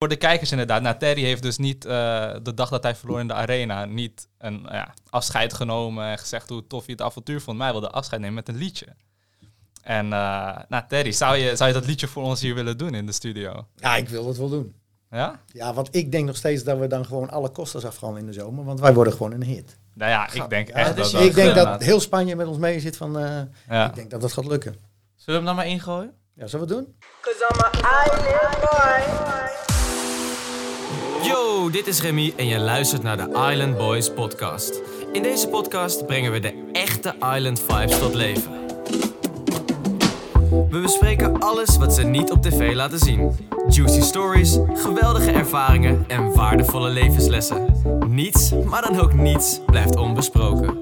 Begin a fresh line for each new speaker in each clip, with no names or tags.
voor de kijkers inderdaad. Nou, Terry heeft dus niet eh, de dag dat hij verloor in de arena... niet een nou ja, afscheid genomen en gezegd hoe tof hij het avontuur vond. Maar hij wilde afscheid nemen met een liedje. En eh, nou, Terry, zou je, zou je dat liedje voor ons hier willen doen in de studio?
Ja, ik wil dat wel doen.
Ja?
Ja, want ik denk nog steeds dat we dan gewoon alle kosten afgaan in de zomer. Want wij worden gewoon een hit.
Nou ja, ik denk
Ja,
echt
dus
dat
ik denk
inderdaad-
dat heel Spanje met ons mee zit van... eh,
Ja.
Ik denk dat dat gaat lukken.
Zullen we hem dan maar ingooien?
Ja, zullen we het doen?
Cause I'm an island boy.
Yo, dit is Remy en je luistert naar de Island Boys podcast. In deze podcast brengen we de echte Island vibes tot leven. We bespreken alles wat ze niet op tv laten zien. Juicy stories, geweldige ervaringen en waardevolle levenslessen. Niets, maar dan ook niets, blijft onbesproken.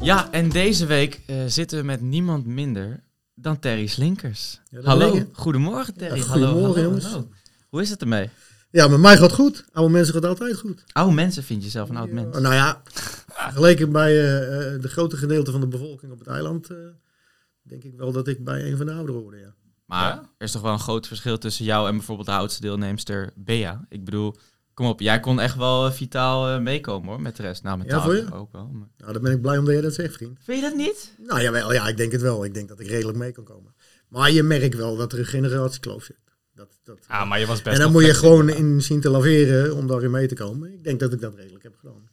Ja, en deze week eh, zitten we met niemand minder dan Terry Slinkers.
Ja, dat
hallo,
ben ik.
goedemorgen Terry.
Ja,
hallo,
goedemorgen,
hallo,
jongens.
hallo. Hoe is het ermee?
Ja, met mij gaat goed. Oude mensen gaat altijd goed.
Oude mensen vind je zelf een oud mens.
Oh, nou ja, vergeleken bij eh, eh, de grote gedeelte van de bevolking op het eiland, eh, denk ik wel dat ik bij een van de ouderen hoorde. Ja.
Maar
Ja?
er is toch wel een groot verschil tussen jou en bijvoorbeeld de oudste deelnemster Bea. Ik bedoel, kom op, jij kon echt wel eh, vitaal eh, meekomen hoor met de rest. Nou, met
Ja,
taal
voor je?
ook wel. maar-
Nou, dan ben ik blij omdat jij dat zegt, vriend.
Vind je dat niet?
Nou jawel, ja, ik denk het wel. Ik denk dat ik redelijk mee kan komen. Maar je merkt wel dat er een generatiekloof zit. Dat, dat,
Ja, maar je was best
en
wel
dan moet je
flexibel.
gewoon in zien te laveren om daarin mee te komen. Ik denk dat ik dat redelijk heb gedaan.
Nou,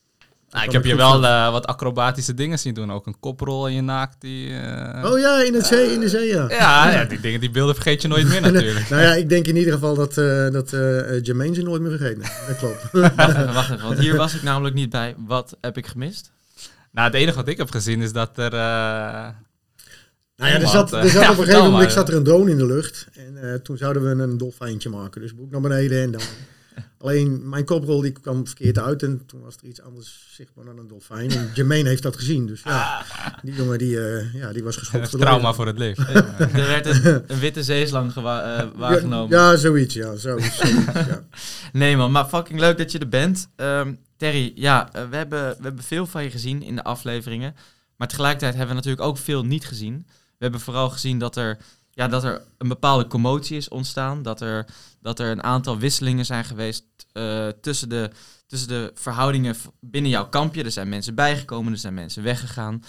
ik
Kan
heb
ik
je
goed
wel eh, wat acrobatische dingen zien doen. Ook een koprol in je naakt. Die, eh,
Oh ja, in, het zee, in de zee, ja.
ja, ja, die dingen, die beelden vergeet je nooit meer natuurlijk.
Nou ja, ik denk in ieder geval dat, eh dat eh, eh, Jermaine ze nooit meer vergeten. Dat klopt.
Wacht even, wacht even, want hier was ik namelijk niet bij. Wat heb ik gemist?
Nou, het enige wat ik heb gezien is dat er... eh,
Nou ja, er
Wat,
zat,
eh,
er
ja,
zat op
vertel
een gegeven
maar,
moment
ja.
zat er een drone in de lucht. En eh, toen zouden we een dolfijntje maken. Dus boek naar beneden en dan. Alleen mijn koprol die kwam verkeerd uit. En toen was er iets anders zichtbaar dan een dolfijn. En Jermaine heeft dat gezien. Dus ja, die jongen die, eh, ja, die was geschokt.
een
voor de
Ah. trauma
leden.
voor het leven.
Er werd een, een witte zeeslang gewa- eh, waargenomen.
Ja, ja, zoiets. Ja, zo, zoiets, ja.
Nee man, maar fucking leuk dat je er bent. Ehm, Terry, ja, eh, we, hebben, we hebben veel van je gezien in de afleveringen. Maar tegelijkertijd hebben we natuurlijk ook veel niet gezien. We hebben vooral gezien dat er, ja, dat er een bepaalde commotie is ontstaan. Dat er, dat er een aantal wisselingen zijn geweest eh, tussen, de, tussen de verhoudingen v- binnen jouw kampje. Er zijn mensen bijgekomen, er zijn mensen weggegaan.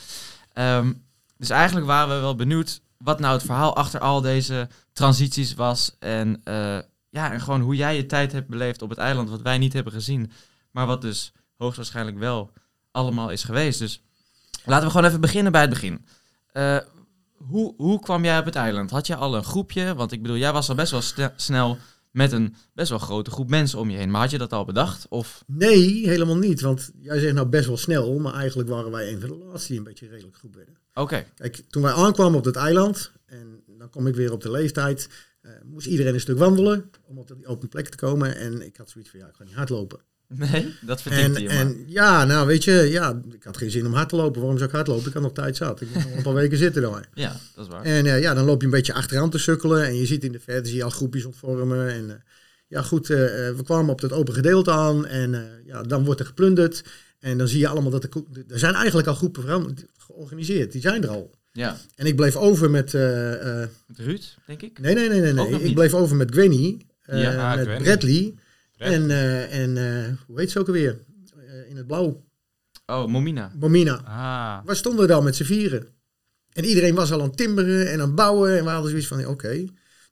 Ehm, dus eigenlijk waren we wel benieuwd wat nou het verhaal achter al deze transities was. En eh, ja, en gewoon hoe jij je tijd hebt beleefd op het eiland, wat wij niet hebben gezien, maar wat dus hoogstwaarschijnlijk wel allemaal is geweest. Dus laten we gewoon even beginnen bij het begin. Eh, hoe, hoe kwam jij op het eiland? Had jij al een groepje? Want ik bedoel, jij was al best wel sne- snel met een best wel grote groep mensen om je heen. Maar had je dat al bedacht? Of
Nee, helemaal niet. Want jij zegt nou best wel snel. Maar eigenlijk waren wij een van de laatste die een beetje redelijk goed werden.
oké,
Kijk, toen wij aankwamen op dat eiland, en dan kom ik weer op de leeftijd, eh, moest iedereen een stuk wandelen om op die open plek te komen. En ik had zoiets van, ja, ik ga niet hardlopen.
nee,
En,
dat vertikte je maar.
en ja, nou weet je, ja, ik had geen zin om hard te lopen. Waarom zou ik hardlopen? Ik had nog tijd zat. Ik moest nog een paar weken zitten daar.
Ja, dat is waar.
En eh, ja, dan loop je een beetje achteraan te sukkelen en je ziet in de verte zie je al groepjes ontvormen. En eh, ja, goed, eh, eh, we kwamen op dat open gedeelte aan en eh, ja, dan wordt er geplunderd. En dan zie je allemaal dat er, ko- er zijn eigenlijk al groepen veranderd- georganiseerd. Die zijn er al.
Ja,
En ik bleef over met. eh, eh,
met Ruud, denk ik.
nee, nee, nee, nee.
Ook nog
nee. Ik
niet.
bleef over met Gwenny. eh,
Ja,
ah,
met
Gwenny.
Bradley.
Brad.
En, eh, en eh, hoe heet ze ook alweer? Eh, in het blauw.
Oh, Momina.
Momina.
Ah,
Waar stonden we dan met z'n vieren? En iedereen was al aan het timmeren en aan het bouwen. En we hadden zoiets van: oké.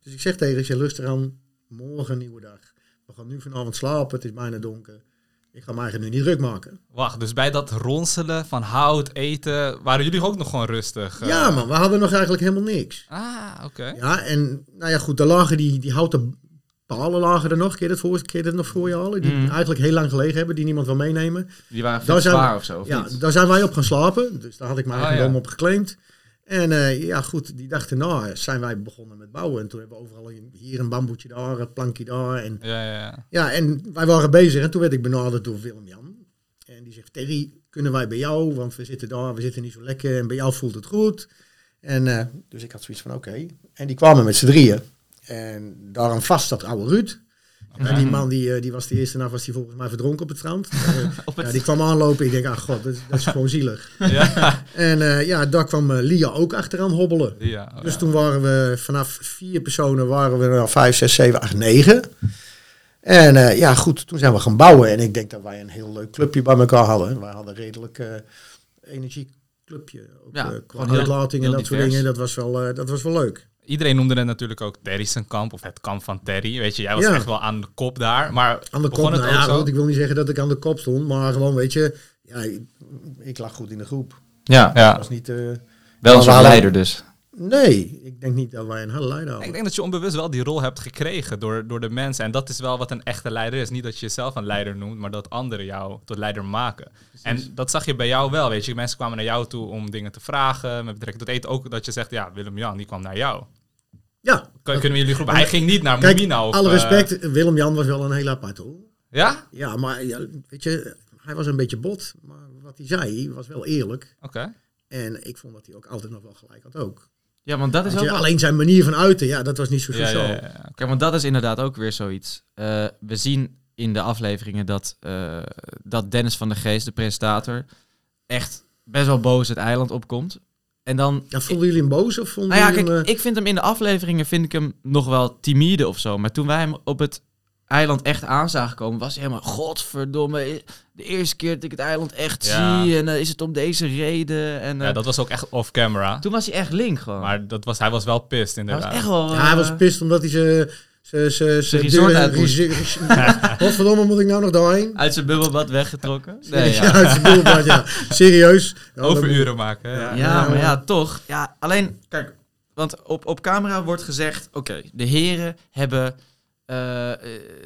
Dus ik zeg tegen ik zeg, luister aan. Morgen een nieuwe dag. We gaan nu vanavond slapen. Het is bijna donker. Ik ga me eigenlijk nu niet druk maken.
wacht, dus bij dat ronselen van hout, eten, waren jullie ook nog gewoon rustig? eh?
Ja, man. We hadden nog eigenlijk helemaal niks.
Ah, oké.
Ja, en nou ja, goed, daar lagen die, die houten palen lagen er nog. Keer dat voor, keer dat nog voor je al. Die
Mm.
eigenlijk heel lang gelegen hebben, die niemand wil meenemen.
Die waren veel
Daar zijn
zwaar
we-
of zo, of
ja,
niet?
daar zijn wij op gaan slapen. Dus daar had ik mijn
Ah,
eigendom
ja.
op geclaimd. En eh, ja, goed, die dag erna zijn wij begonnen met bouwen. En toen hebben we overal een- hier een bamboetje daar, een plankje daar. En,
Ja, ja, ja.
ja, en wij waren bezig. En toen werd ik benaderd door Willem-Jan. En die zegt, Terry, kunnen wij bij jou? Want we zitten daar, we zitten niet zo lekker. En bij jou voelt het goed. En, eh, dus ik had zoiets van, oké. En die kwamen met z'n drieën. En daaraan vast dat oude Ruud. En die man, die, eh, die was de eerste nacht, was die volgens mij verdronken op het strand. Eh,
Op het-
ja, die kwam aanlopen. Ik denk, ah god, dat, is- dat is gewoon zielig.
ja,
En eh, ja, daar kwam eh, Lia ook achteraan hobbelen.
ja, oh, ja.
Dus toen waren we vanaf vier personen waren we er al vijf, zes, zeven, acht, negen. En eh, ja, goed, toen zijn we gaan bouwen. En ik denk dat wij een heel leuk clubje bij elkaar hadden. Wij hadden een redelijk eh, energieclubje. Ook,
Ja,
eh, qua
gewoon heel-
uitlating en
heel
dat soort
divers.
dingen. Dat was wel, eh, dat was wel leuk.
Iedereen noemde het natuurlijk ook Terry's kamp of het kamp van Terry. Weet je, jij was
Ja.
echt wel aan de kop daar. Maar
Aan de
begon
kop,
het
nou
ook
ja,
zo?
goed, ik wil niet zeggen dat ik aan de kop stond. Maar gewoon, weet je, ja, ik, ik lag goed in de groep.
Ja,
Ja.
was niet... eh,
wel een soort
hadden-
leider dus.
nee, ik denk niet dat wij een hele leider
Ik
hadden.
denk dat je onbewust wel die rol hebt gekregen door, door de mensen. En dat is wel wat een echte leider is. Niet dat je jezelf een leider noemt, maar dat anderen jou tot leider maken. En dat zag je bij jou wel, weet je. Mensen kwamen naar jou toe om dingen te vragen. Met betrekking tot eten ook dat je zegt, ja, Willem-Jan, die kwam naar jou.
Ja,
Kun- Kunnen we jullie groepen? Hij ging niet naar
Kijk,
Mumina of...
alle
eh,
respect, Willem-Jan was wel een heel apart hoor.
ja?
Ja, maar ja, weet je, hij was een beetje bot. Maar wat hij zei was wel eerlijk.
Oké.
En ik vond dat hij ook altijd nog wel gelijk had ook.
Ja, want dat is
Weet
ook
je,
wel-
alleen zijn manier van uiten, ja, dat was niet zo
Ja,
sociaal.
ja, ja, ja.
Kijk, want dat is inderdaad ook weer zoiets. Eh, we zien in de afleveringen dat, eh, dat Dennis van der Geest, de presentator, echt best wel boos het eiland opkomt. En dan...
Ja, vonden jullie hem boos of vonden
Nou ja,
jullie hem...
kijk, ik vind hem in de afleveringen vind ik hem nog wel timide of zo. Maar toen wij hem op het eiland echt aan zagen komen, was hij helemaal... Godverdomme, de eerste keer dat ik het eiland echt
Ja.
zie. En eh, is het om deze reden? En, eh,
Ja, dat was ook echt off-camera.
Toen was hij echt link gewoon.
Maar dat was, hij was wel pissed,
hij
inderdaad.
was echt wel...
eh, ja, hij was
eh,
pist omdat hij ze... Ze, ze, ze
resort
deur-
uit moest.
rese- Wat verdomme moet ik nou nog daarheen?
uit zijn bubbelbad weggetrokken. Nee, ja.
Ja, uit zijn doelblad, ja. Serieus. Ja, dan-
Overuren maken. hè.
Ja.
Ja, maar ja, toch. Ja, alleen, kijk, want op, op camera wordt gezegd, oké, de heren hebben eh, eh,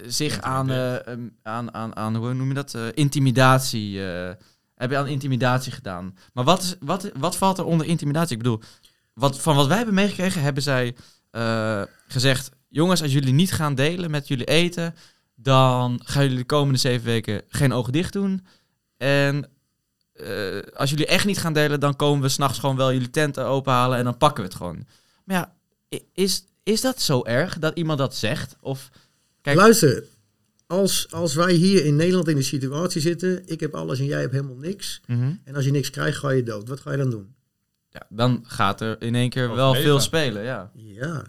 zich aan, eh, ehm, aan, aan, aan, hoe noem je dat, Eh, intimidatie, eh, hebben aan intimidatie gedaan. Maar wat, is, wat, wat valt er onder intimidatie? Ik bedoel, wat, van wat wij hebben meegekregen, hebben zij eh, gezegd, jongens, als jullie niet gaan delen met jullie eten, dan gaan jullie de komende zeven weken geen ogen dicht doen. En eh, als jullie echt niet gaan delen, dan komen we s'nachts gewoon wel jullie tenten openhalen en dan pakken we het gewoon. Maar ja, i- is, is dat zo erg dat iemand dat zegt? Of Kijk.
Luister, als, als wij hier in Nederland in de situatie zitten... Ik heb alles en jij hebt helemaal niks.
Mhm.
En als je niks krijgt, ga je dood. Wat ga je dan doen?
ja, dan gaat er in één keer
Of
wel
leven.
veel spelen, ja.
Ja.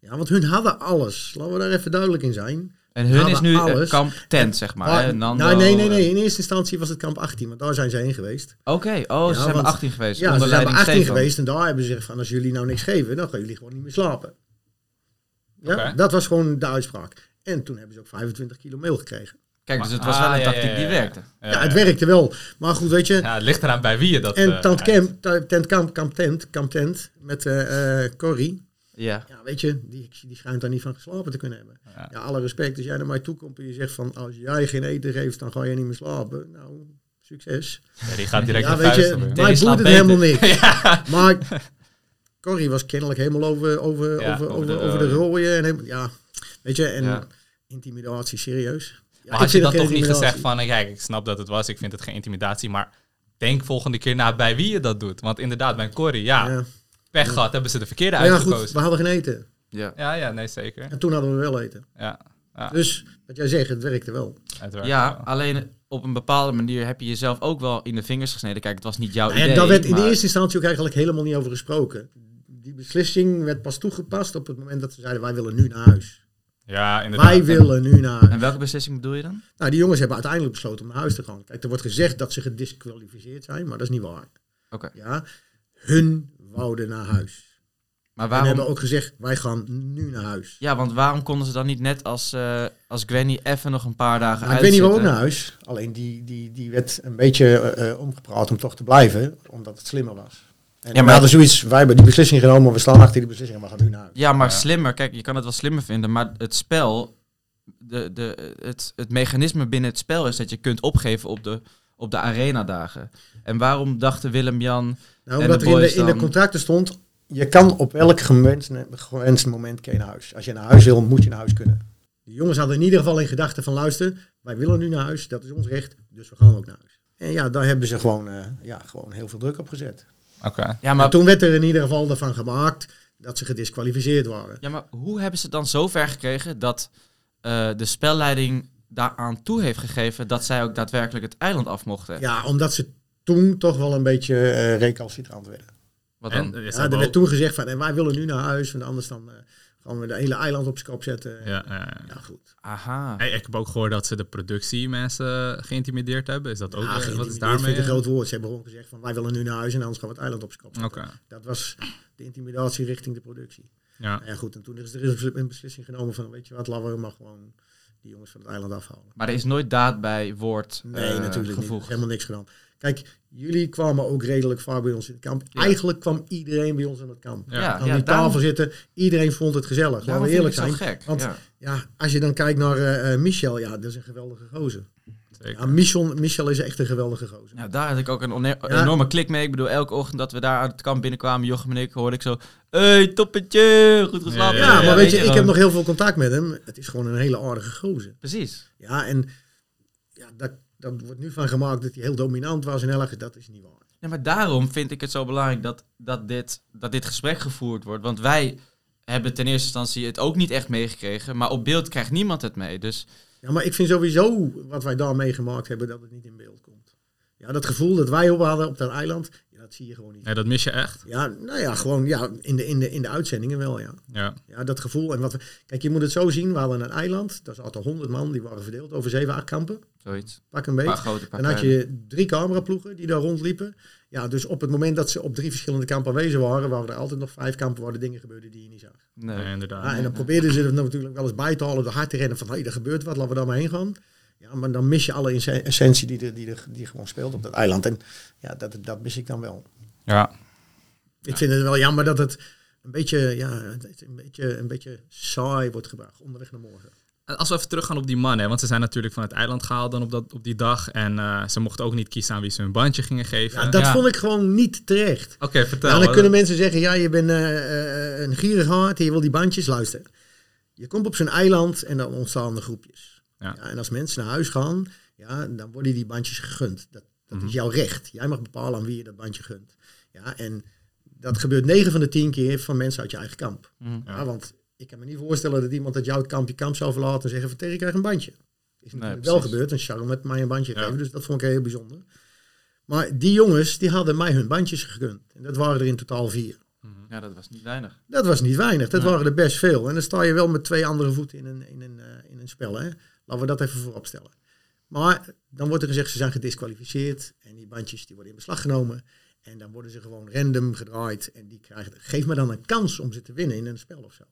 Ja, want hun hadden alles. Laten we daar even duidelijk in zijn.
En hun
Hadden
is nu eh,
alles.
kamp tent, zeg maar. hè,
Maar-
Nando,
nou, nee, nee,
eh,
nee. In eerste instantie was het kamp 18, want daar zijn ze heen geweest.
Oké,
Ja,
oh, ze zijn maar
want-
18 geweest.
Ja,
onder
ze zijn bij
leiding
18
Stefan.
geweest en daar hebben ze gezegd van als jullie nou niks geven, dan gaan jullie gewoon niet meer slapen. Ja,
Oké.
dat was gewoon de uitspraak. En toen hebben ze ook 25 kilo mail gekregen.
Kijk, dus het was
Ah,
wel een
ja,
tactiek
ja, ja,
die
ja.
werkte.
Ja, het werkte wel. Maar goed, weet je.
Ja, het ligt eraan bij wie je dat...
en
eh,
Tant
kijkt.
Kemp, ta- Tent Kamp, Kamp Tent, Kamp Tent, met eh, eh, Corrie.
Ja.
Ja, weet je, die, die schijnt daar niet van geslapen te kunnen hebben.
Ja.
Ja, alle respect. Als jij naar mij toe komt en je zegt van als jij geen eten geeft, dan ga je niet meer slapen. Nou, succes.
Ja, die gaat direct
Ja,
de
weet
vuist
je,
op.
Tegen
mij
slaap
boeit het
beter.
helemaal niks. Maar Corrie was kennelijk helemaal over, over,
Ja,
over,
over
over,
de
over de
rode.
rooien. En, helemaal- ja, weet je, en
Ja.
intimidatie, serieus.
maar
Ja, ik
had je
vind
dan
geen
toch niet
intimidatie.
gezegd van, eh, kijk, ik snap dat het was, ik vind het geen intimidatie, maar denk volgende keer na bij wie je dat doet. Want inderdaad, bij Corrie, ja,
Ja.
pech gehad, hebben ze de verkeerde
Maar ja, goed,
uitgekozen.
we hadden geen eten.
Ja.
Ja, ja, nee, zeker.
En toen hadden we wel eten.
Ja, ja,
Dus wat jij zegt, het werkte wel.
het werkt
ja,
wel.
alleen op een bepaalde manier heb je jezelf ook wel in de vingers gesneden. Kijk, het was niet jouw idee.
en daar werd in
maar-
de eerste instantie ook eigenlijk helemaal niet over gesproken. Die beslissing werd pas toegepast op het moment dat ze zeiden, wij willen nu naar huis.
ja, inderdaad.
Wij willen nu naar huis.
En welke beslissing bedoel je dan?
Nou, die jongens hebben uiteindelijk besloten om naar huis te gaan. Kijk, er wordt gezegd dat ze gedisqualificeerd zijn, maar dat is niet waar.
Oké.
Ja, hun wouden naar huis.
Maar
En
waarom
hebben ook gezegd, wij gaan nu naar huis.
Ja, want waarom konden ze dan niet net als, eh, als Granny even nog een paar dagen
Nou, ik weet niet waarom naar huis. Alleen die, die, die werd een beetje eh, eh, omgepraat om toch te blijven, omdat het slimmer was. En
maar-
we hadden zoiets, wij hebben die beslissing genomen, we staan achter die beslissing en we gaan nu naar huis.
Ja, maar
Ja.
slimmer. Kijk, je kan het wel slimmer vinden, maar het spel, de, de, het, het mechanisme binnen het spel is dat je kunt opgeven op de, op de arenadagen. En waarom dachten Willem-Jan...
Nou,
En
omdat
de
er in de,
boys
in de
dan?
contracten stond, je kan op elk gewenst, gewenst moment kan je naar huis. Als je naar huis wil, moet je naar huis kunnen. De jongens hadden in ieder geval in gedachten van luister, wij willen nu naar huis, dat is ons recht, dus we gaan ook naar huis. En ja, daar hebben ze gewoon, eh, ja, gewoon heel veel druk op gezet.
Oké.
Ja,
Maar
maar,
toen werd er in ieder geval ervan gemaakt dat ze gedisqualificeerd waren.
ja, maar hoe hebben ze het dan zo ver gekregen dat eh, de spelleiding daaraan toe heeft gegeven dat zij ook daadwerkelijk het eiland af mochten?
Ja, omdat ze toen toch wel een beetje eh recalcitrant werden.
Wat dan?
En, eh, ze
Ja,
hebben
er werd
ook-
toen gezegd van, en wij willen nu naar huis, want anders dan eh, Gewoon weer de hele eiland op zijn kop zetten.
Ja, ja, ja.
Ja, goed.
Aha.
Hey, ik heb ook gehoord dat ze de productie mensen geïntimideerd hebben. Is dat ook
Ja,
eh, wat is
daarmee...
daarmee?
vind ik een groot woord. Ze hebben gewoon gezegd van wij willen nu naar huis en anders gaan we het eiland op zijn kop
Oké,
zetten. Dat was de intimidatie richting de productie.
ja.
Nou ja, goed. En toen is er is een beslissing genomen van weet je wat, laten we maar gewoon die jongens van het eiland afhalen.
Maar er is nooit daad bij woord
Nee,
eh,
natuurlijk niet.
gevoegd.
Helemaal niks gedaan. Kijk, jullie kwamen ook redelijk vaak bij ons in het kamp. Eigenlijk kwam iedereen bij ons in het kamp.
Ja.
Ja,
Aan
ja,
die
daarom-
tafel zitten, iedereen vond het gezellig. Laten
daarom
we
vind ik
eerlijk
het zo
zijn.
gek.
want-
ja.
Ja, als je dan kijkt naar eh, eh, Michel, ja, dat is een geweldige gozer.
zeker.
Ja, Michel, Michel is echt een geweldige gozer.
Ja, Nou, daar had ik ook een one- enorme klik mee. Ik bedoel, elke ochtend dat we daar uit het kamp binnenkwamen, Jochem en ik, hoorde ik zo... Hey, toppetje, goed geslapen.
Ja,
Ja, maar weet je, ik
wel.
heb nog heel veel contact met hem. Het is gewoon een hele aardige gozer.
Precies.
Ja, en ja, daar, daar wordt nu van gemaakt dat hij heel dominant was en erg. Dat is niet waar.
Ja, maar daarom vind ik het zo belangrijk dat, dat, dit, dat dit gesprek gevoerd wordt. Want wij hebben ten eerste instantie het ook niet echt meegekregen. Maar op beeld krijgt niemand het mee. Dus
Ja, maar ik vind sowieso wat wij daar meegemaakt hebben, dat het niet in beeld komt. Ja, dat gevoel dat wij op hadden op dat eiland, ja, dat zie je gewoon niet.
Nee, dat mis je echt.
Ja, nou ja, gewoon ja, in, de, in, de, in de uitzendingen wel, ja.
Ja,
Ja, dat gevoel. En wat we, kijk, je moet het zo zien, we hadden een eiland, daar zaten honderd man, die waren verdeeld over zeven, acht kampen,
zoiets.
pak een
Een paar
beetje.
grote, een paar
Dan had
kleine.
je drie cameraploegen die daar rondliepen. Ja, dus op het moment dat ze op drie verschillende kampen aanwezig waren, waren er altijd nog vijf kampen waar de dingen gebeurden die je niet zag.
Nee.
nee, inderdaad.
Ja, en dan probeerden ze er natuurlijk wel eens bij te halen, door hard te rennen van, hé, hey, er gebeurt wat, laten we daar maar heen gaan. Ja, maar dan mis je alle ins- essentie die, er- die, er- die gewoon speelt op dat eiland. En ja, dat, dat mis ik dan wel.
Ja.
Ik vind het wel jammer dat het een beetje, ja, het een beetje, een beetje saai wordt gebracht onderweg naar morgen.
En Eh, Als we even teruggaan op die mannen, want ze zijn natuurlijk van het eiland gehaald dan op, dat, op die dag. En eh, ze mochten ook niet kiezen aan wie ze hun bandje gingen geven.
Ja, dat
ja.
vond ik gewoon niet terecht.
Oké, vertel.
Ja, dan
wat-
kunnen mensen zeggen, ja, je bent eh, eh, een gierigaard en je wil die bandjes luisteren. Je komt op zo'n eiland en dan ontstaan de groepjes.
Ja.
Ja. en als mensen naar huis gaan, ja, dan worden die bandjes gegund. Dat, dat is jouw recht. Jij mag bepalen aan wie je dat bandje gunt. Ja, en dat gebeurt 9 van de 10 keer van mensen uit je eigen kamp.
Mhm.
Ja, want ik kan me niet voorstellen dat iemand uit jouw kamp je kamp zou verlaten en zeggen van Terry, krijg een bandje. Is natuurlijk wel
precies.
gebeurd en Sharon met mij een bandje
Ja.
gegeven, dus dat vond ik heel bijzonder. Maar die jongens, die hadden mij hun bandjes gegund. En dat waren er in totaal vier.
Ja, dat was niet weinig.
Dat was niet weinig, dat waren er best veel. En dan sta je wel met twee andere voeten in een, in een, eh, in een spel. Hè? Laten we dat even vooropstellen. Maar dan wordt er gezegd, ze zijn gedisqualificeerd. En die bandjes die worden in beslag genomen. En dan worden ze gewoon random gedraaid. En die krijgen, geef me dan een kans om ze te winnen in een spel of zo.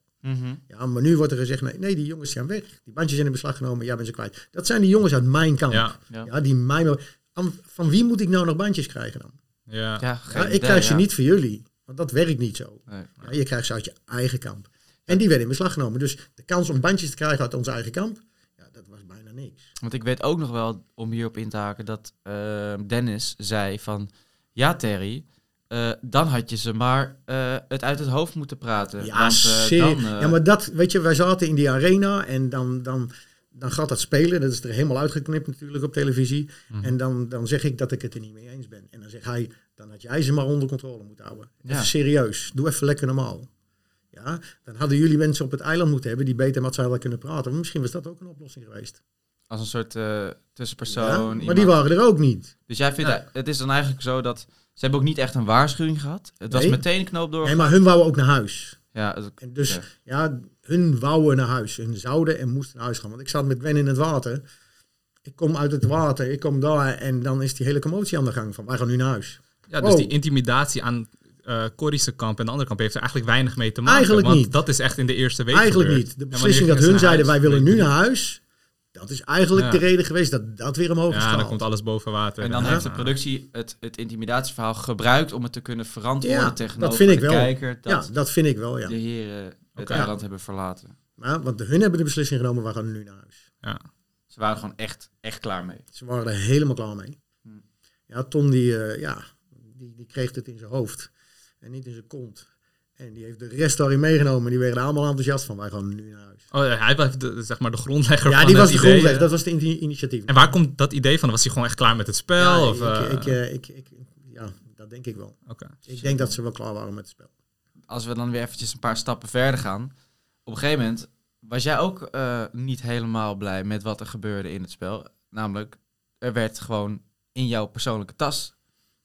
Ja, maar nu wordt er gezegd, nee, nee die jongens zijn weg. Die bandjes zijn in beslag genomen, jij bent ze kwijt. Dat zijn die jongens uit mijn kamp.
Ja,
Ja.
Ja, die mij... Am- Van wie moet ik nou nog bandjes krijgen dan?
ja.
Ja,
Ja,
geen
Nou, ik
idee,
krijg ze
ja.
niet van jullie. Want dat werkt niet zo.
Nee.
Ja, je krijgt ze uit je eigen kamp. En die werden in beslag genomen. Dus de kans om bandjes te krijgen uit ons eigen kamp, ja, dat was bijna niks.
Want ik weet ook nog wel, om hierop in te haken, dat eh, Dennis zei van... Ja, Terry, eh, dan had je ze maar eh, het uit het hoofd moeten praten.
Ja,
Want, eh,
serie-
dan, eh,
ja, maar dat, weet je, wij zaten in die arena en dan, dan, dan gaat dat spelen. Dat is er helemaal uitgeknipt natuurlijk op televisie.
Mhm.
En dan, dan zeg ik dat ik het er niet mee eens ben. En dan zegt hij, dan had jij ze maar onder controle moeten houden.
Ja.
Even serieus, doe even lekker normaal. Ja, dan hadden jullie mensen op het eiland moeten hebben die beter met z'n allen kunnen praten. Maar misschien was dat ook een oplossing geweest.
Als een soort eh, tussenpersoon.
Ja,
iemand.
maar die waren er ook niet.
Dus jij vindt, het is dan eigenlijk zo dat... Ze hebben ook niet echt een waarschuwing gehad. Het was
Nee.
meteen een knoop door.
Nee, maar hun wouden ook naar huis.
Ja, het-
En dus
Ja.
ja. hun wouden naar huis. Hun zouden en moesten naar huis gaan. Want ik zat met Gwen in het water. Ik kom uit het water, ik kom daar en dan is die hele commotie aan de gang van wij gaan nu naar huis.
Ja, dus
Wow.
die intimidatie aan eh Corrie's kamp en de andere kamp heeft er eigenlijk weinig mee te maken.
Eigenlijk
want
niet.
dat is echt in de eerste week
eigenlijk
gebeurd.
niet. De
En
beslissing dat
wanneer
hun
gingen ze
zeiden wij
huis?
willen
Week
nu
drie.
naar huis, dat is eigenlijk
Ja.
de reden geweest dat dat weer omhoog is
Ja, dan
gehaald.
komt alles boven water.
en dan
Ja.
heeft de productie het, het intimidatieverhaal gebruikt om het te kunnen verantwoorden
Ja,
tegenover
dat vind ik
de
wel.
kijker. Dat
Ja, dat vind ik wel, ja.
de heren het
Oké.
eiland hebben verlaten.
Maar, want hun hebben de beslissing genomen, wij gaan nu naar huis.
Ja.
Ze waren gewoon echt, echt klaar mee.
Ze waren er helemaal klaar mee.
Hmm.
Ja, Tom die, eh, ja, die, die kreeg het in zijn hoofd en niet in zijn kont. En die heeft de rest daarin meegenomen. Die werden er allemaal enthousiast van. Wij gaan nu naar huis.
Oh, ja, hij was de, zeg maar de grondlegger
Ja,
van
die
het
was de
idee.
grondleg. Dat was de in- initiatief.
En waar komt dat idee van? Was hij gewoon echt klaar met het spel?
Ja,
of, eh,
ik, ik, eh, ik, ik, ja, dat denk ik wel.
oké.
Ik denk dat ze wel klaar waren met het spel.
Als we dan weer eventjes een paar stappen verder gaan. Op een gegeven moment was jij ook eh, niet helemaal blij met wat er gebeurde in het spel. Namelijk, er werd gewoon in jouw persoonlijke tas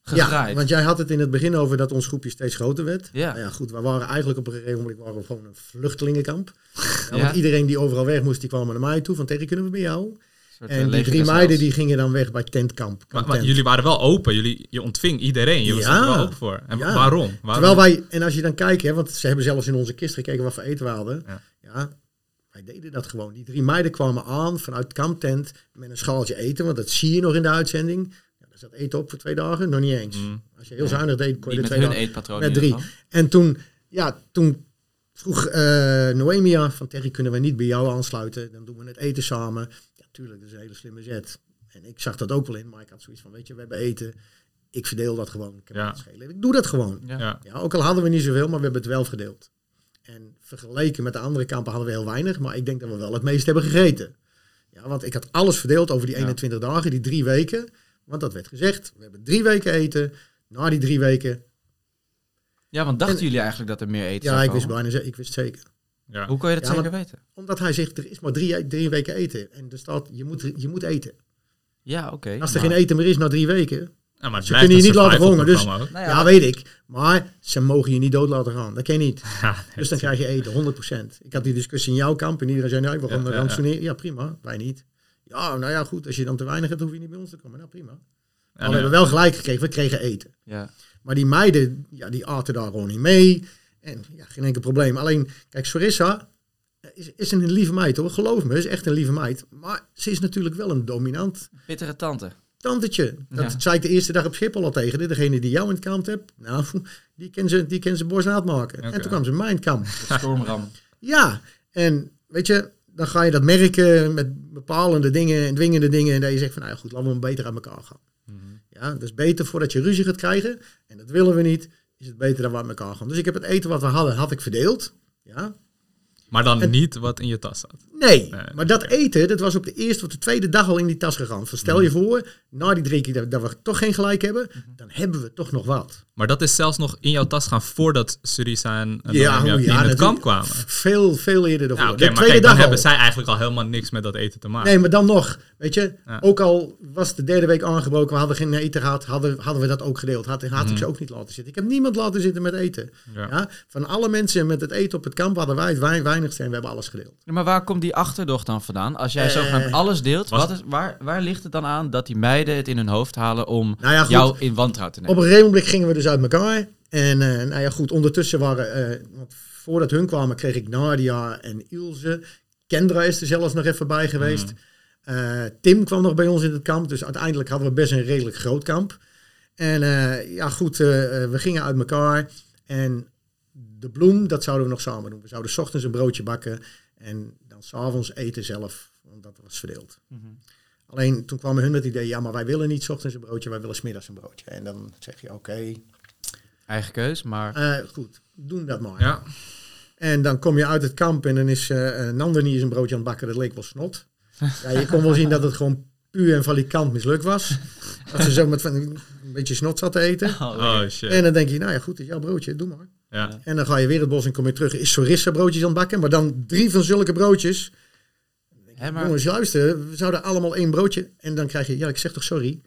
gedraaid.
Ja, want jij had het in het begin over dat ons groepje steeds groter werd.
Ja.
Nou ja, goed, we waren eigenlijk op een gegeven moment waren we gewoon een vluchtelingenkamp. Ja,
Ja.
Want iedereen die overal weg moest, die kwam naar mij toe. Van tegen kunnen we bij jou.
Een soort, eh,
En die
leger
drie
des
meiden
Heils.
die gingen dan weg bij tentkamp.
Maar,
Kamp
maar
Tent.
jullie waren wel open. Jullie, je ontving iedereen. Je was
Ja.
er wel open voor. En wa-
Ja.
waarom? waarom?
Terwijl wij, en als je dan kijkt, hè, want ze hebben zelfs in onze kist gekeken wat voor eten we hadden.
Ja.
Ja. wij deden dat gewoon. Die drie meiden kwamen aan vanuit de kamptent met een schaaltje eten, want dat zie je nog in de uitzending. Ja, daar zat eten op voor twee dagen, nog niet eens.
Mm.
Als je heel zuinig deed, kon je
Niet
er
met
twee
hun
dagen
eetpatroon.
Met
in ieder
drie.
geval.
En toen, ja, toen vroeg eh Noemia van Terry, kunnen we niet bij jou aansluiten? Dan doen we het eten samen. Ja, tuurlijk, dat is een hele slimme zet. En ik zag dat ook wel in, maar ik had zoiets van, weet je, we hebben eten. Ik verdeel dat gewoon. Ik, heb
Ja.
het schelen. ik doe dat gewoon.
Ja.
Ja.
Ja, ook al hadden we niet zoveel, maar we hebben het wel verdeeld. En vergeleken met de andere kampen hadden we heel weinig, maar ik denk dat we wel het meest hebben gegeten. Ja, want ik had alles verdeeld over die
Ja.
21 dagen, die drie weken. Want dat werd gezegd, we hebben drie weken eten. Na die drie weken,
Ja, want dachten
En-
jullie eigenlijk dat er meer eten
ja,
zou
ik wist
komen?
bijna ze- ik wist zeker.
Ja.
Hoe kon je dat
Ja, maar-
zeker weten?
Omdat hij zegt, er is maar drie, drie weken eten. En er staat, je moet, je moet eten.
Ja, oké. Nou,
Als er
maar-
geen eten meer is na drie weken,
Ja, maar het
Ze
blijft
kunnen je
een
niet laten
survival
verhongeren, dus-
programma ook.
Nou
ja, weet ik. Maar ze mogen je niet dood laten gaan. Dat ken je niet.
Ja,
Dus dan krijg je eten, 100%. Ik had die discussie in jouw kamp en iedereen zei, nou, nee, we gaan
Ja, ja,
ja,
ja.
Ja. prima, wij niet. Ja, nou ja, goed, als je dan te weinig hebt, hoef je niet bij ons te komen. Nou, prima. Maar
Ja,
we
nee.
hebben wel gelijk gekregen, we kregen eten.
Ja.
Maar die meiden, ja, die aten daar gewoon niet mee. En ja, geen enkel probleem. Alleen, kijk, Sorissa is, is een lieve meid hoor, geloof me, is echt een lieve meid. Maar ze is natuurlijk wel een dominant
Pittere tante.
tantetje. Dat
Ja.
zei ik de eerste dag op Schiphol al tegen. haar. Degene die jou in het kamp hebt, nou, die kan ze, die kan ze borstnaad maken.
Oké.
En toen kwam ze in mijn kamp.
De stormram.
Ja, en weet je, dan ga je dat merken met bepalende dingen en dwingende dingen. En dat je zegt van, nou ja, goed, laten we maar beter aan elkaar gaan.
Mhm.
Ja, dat is beter voordat je ruzie gaat krijgen. En dat willen we niet. Is het beter dat we aan elkaar gaan. Dus ik heb het eten wat we hadden, had ik verdeeld. Ja.
Maar dan
En-
niet wat in je tas zat.
Nee,
Nee, Mhm.
maar dat eten, dat was op de eerste of de tweede dag al in die tas gegaan. Van stel je voor, na die drie keer dat, dat we toch geen gelijk hebben, dan hebben we toch nog wat.
Maar dat is zelfs nog in jouw tas gaan voordat Surisa en en
Ja,
Noemia
hoe- ja,
in het
natuurlijk.
kamp kwamen.
Veel, veel eerder daarvoor.
Ja, oké,
de
maar
tweede
kijk, dan
dag al.
hebben zij eigenlijk al helemaal niks met dat eten te maken.
Nee, maar dan nog. Weet je,
Ja.
ook al was de derde week aangebroken, we hadden geen eten gehad, hadden, hadden we dat ook gedeeld. Had, had ik ze ook niet laten zitten. Ik heb niemand laten zitten met eten.
Ja.
Ja. Van alle mensen met het eten op het kamp hadden wij het wei- weinigste en we hebben alles gedeeld.
Ja, Maar waar komt die achterdocht dan vandaan? Als jij
Eh,
zogenaamd alles deelt,
was-
wat is, waar, waar ligt het dan aan dat die meiden het in hun hoofd halen om
Nou ja, goed.
jou in wantrouw te
Op
nemen?
een gegeven moment gingen we dus uit elkaar. En eh, nou ja, goed, ondertussen waren, eh, want voordat hun kwamen, kreeg ik Nadia en Ilse. Kendra is er zelfs nog even bij geweest. Eh, Tim kwam nog bij ons in het kamp. Dus uiteindelijk hadden we best een redelijk groot kamp. En eh, ja, goed, eh, eh, we gingen uit elkaar. En de bloem, dat zouden we nog samen doen. We zouden 's ochtends een broodje bakken en dan s'avonds eten zelf. Want dat was verdeeld. Alleen toen kwamen hun met het idee, ja, maar wij willen niet 's ochtends een broodje, wij willen 's middags een broodje. En dan zeg je, oké,
Eigen keus, maar
eh, goed, doen dat maar.
Ja.
En dan kom je uit het kamp en dan is eh Nander niet eens een broodje aan het bakken. Dat leek wel snot. Ja, je kon wel zien dat het gewoon puur en valikant mislukt was. Dat ze zo met van, een beetje snot zat te eten.
Oh shit.
En dan denk je, nou ja, goed, het is jouw broodje, doe maar.
Ja.
En dan ga je weer het bos en kom je terug. Is Sorissa broodjes aan het bakken, maar dan drie van zulke broodjes.
hè, maar,
Jongens, luister, we zouden allemaal één broodje. En dan krijg je, ja, ik zeg toch sorry.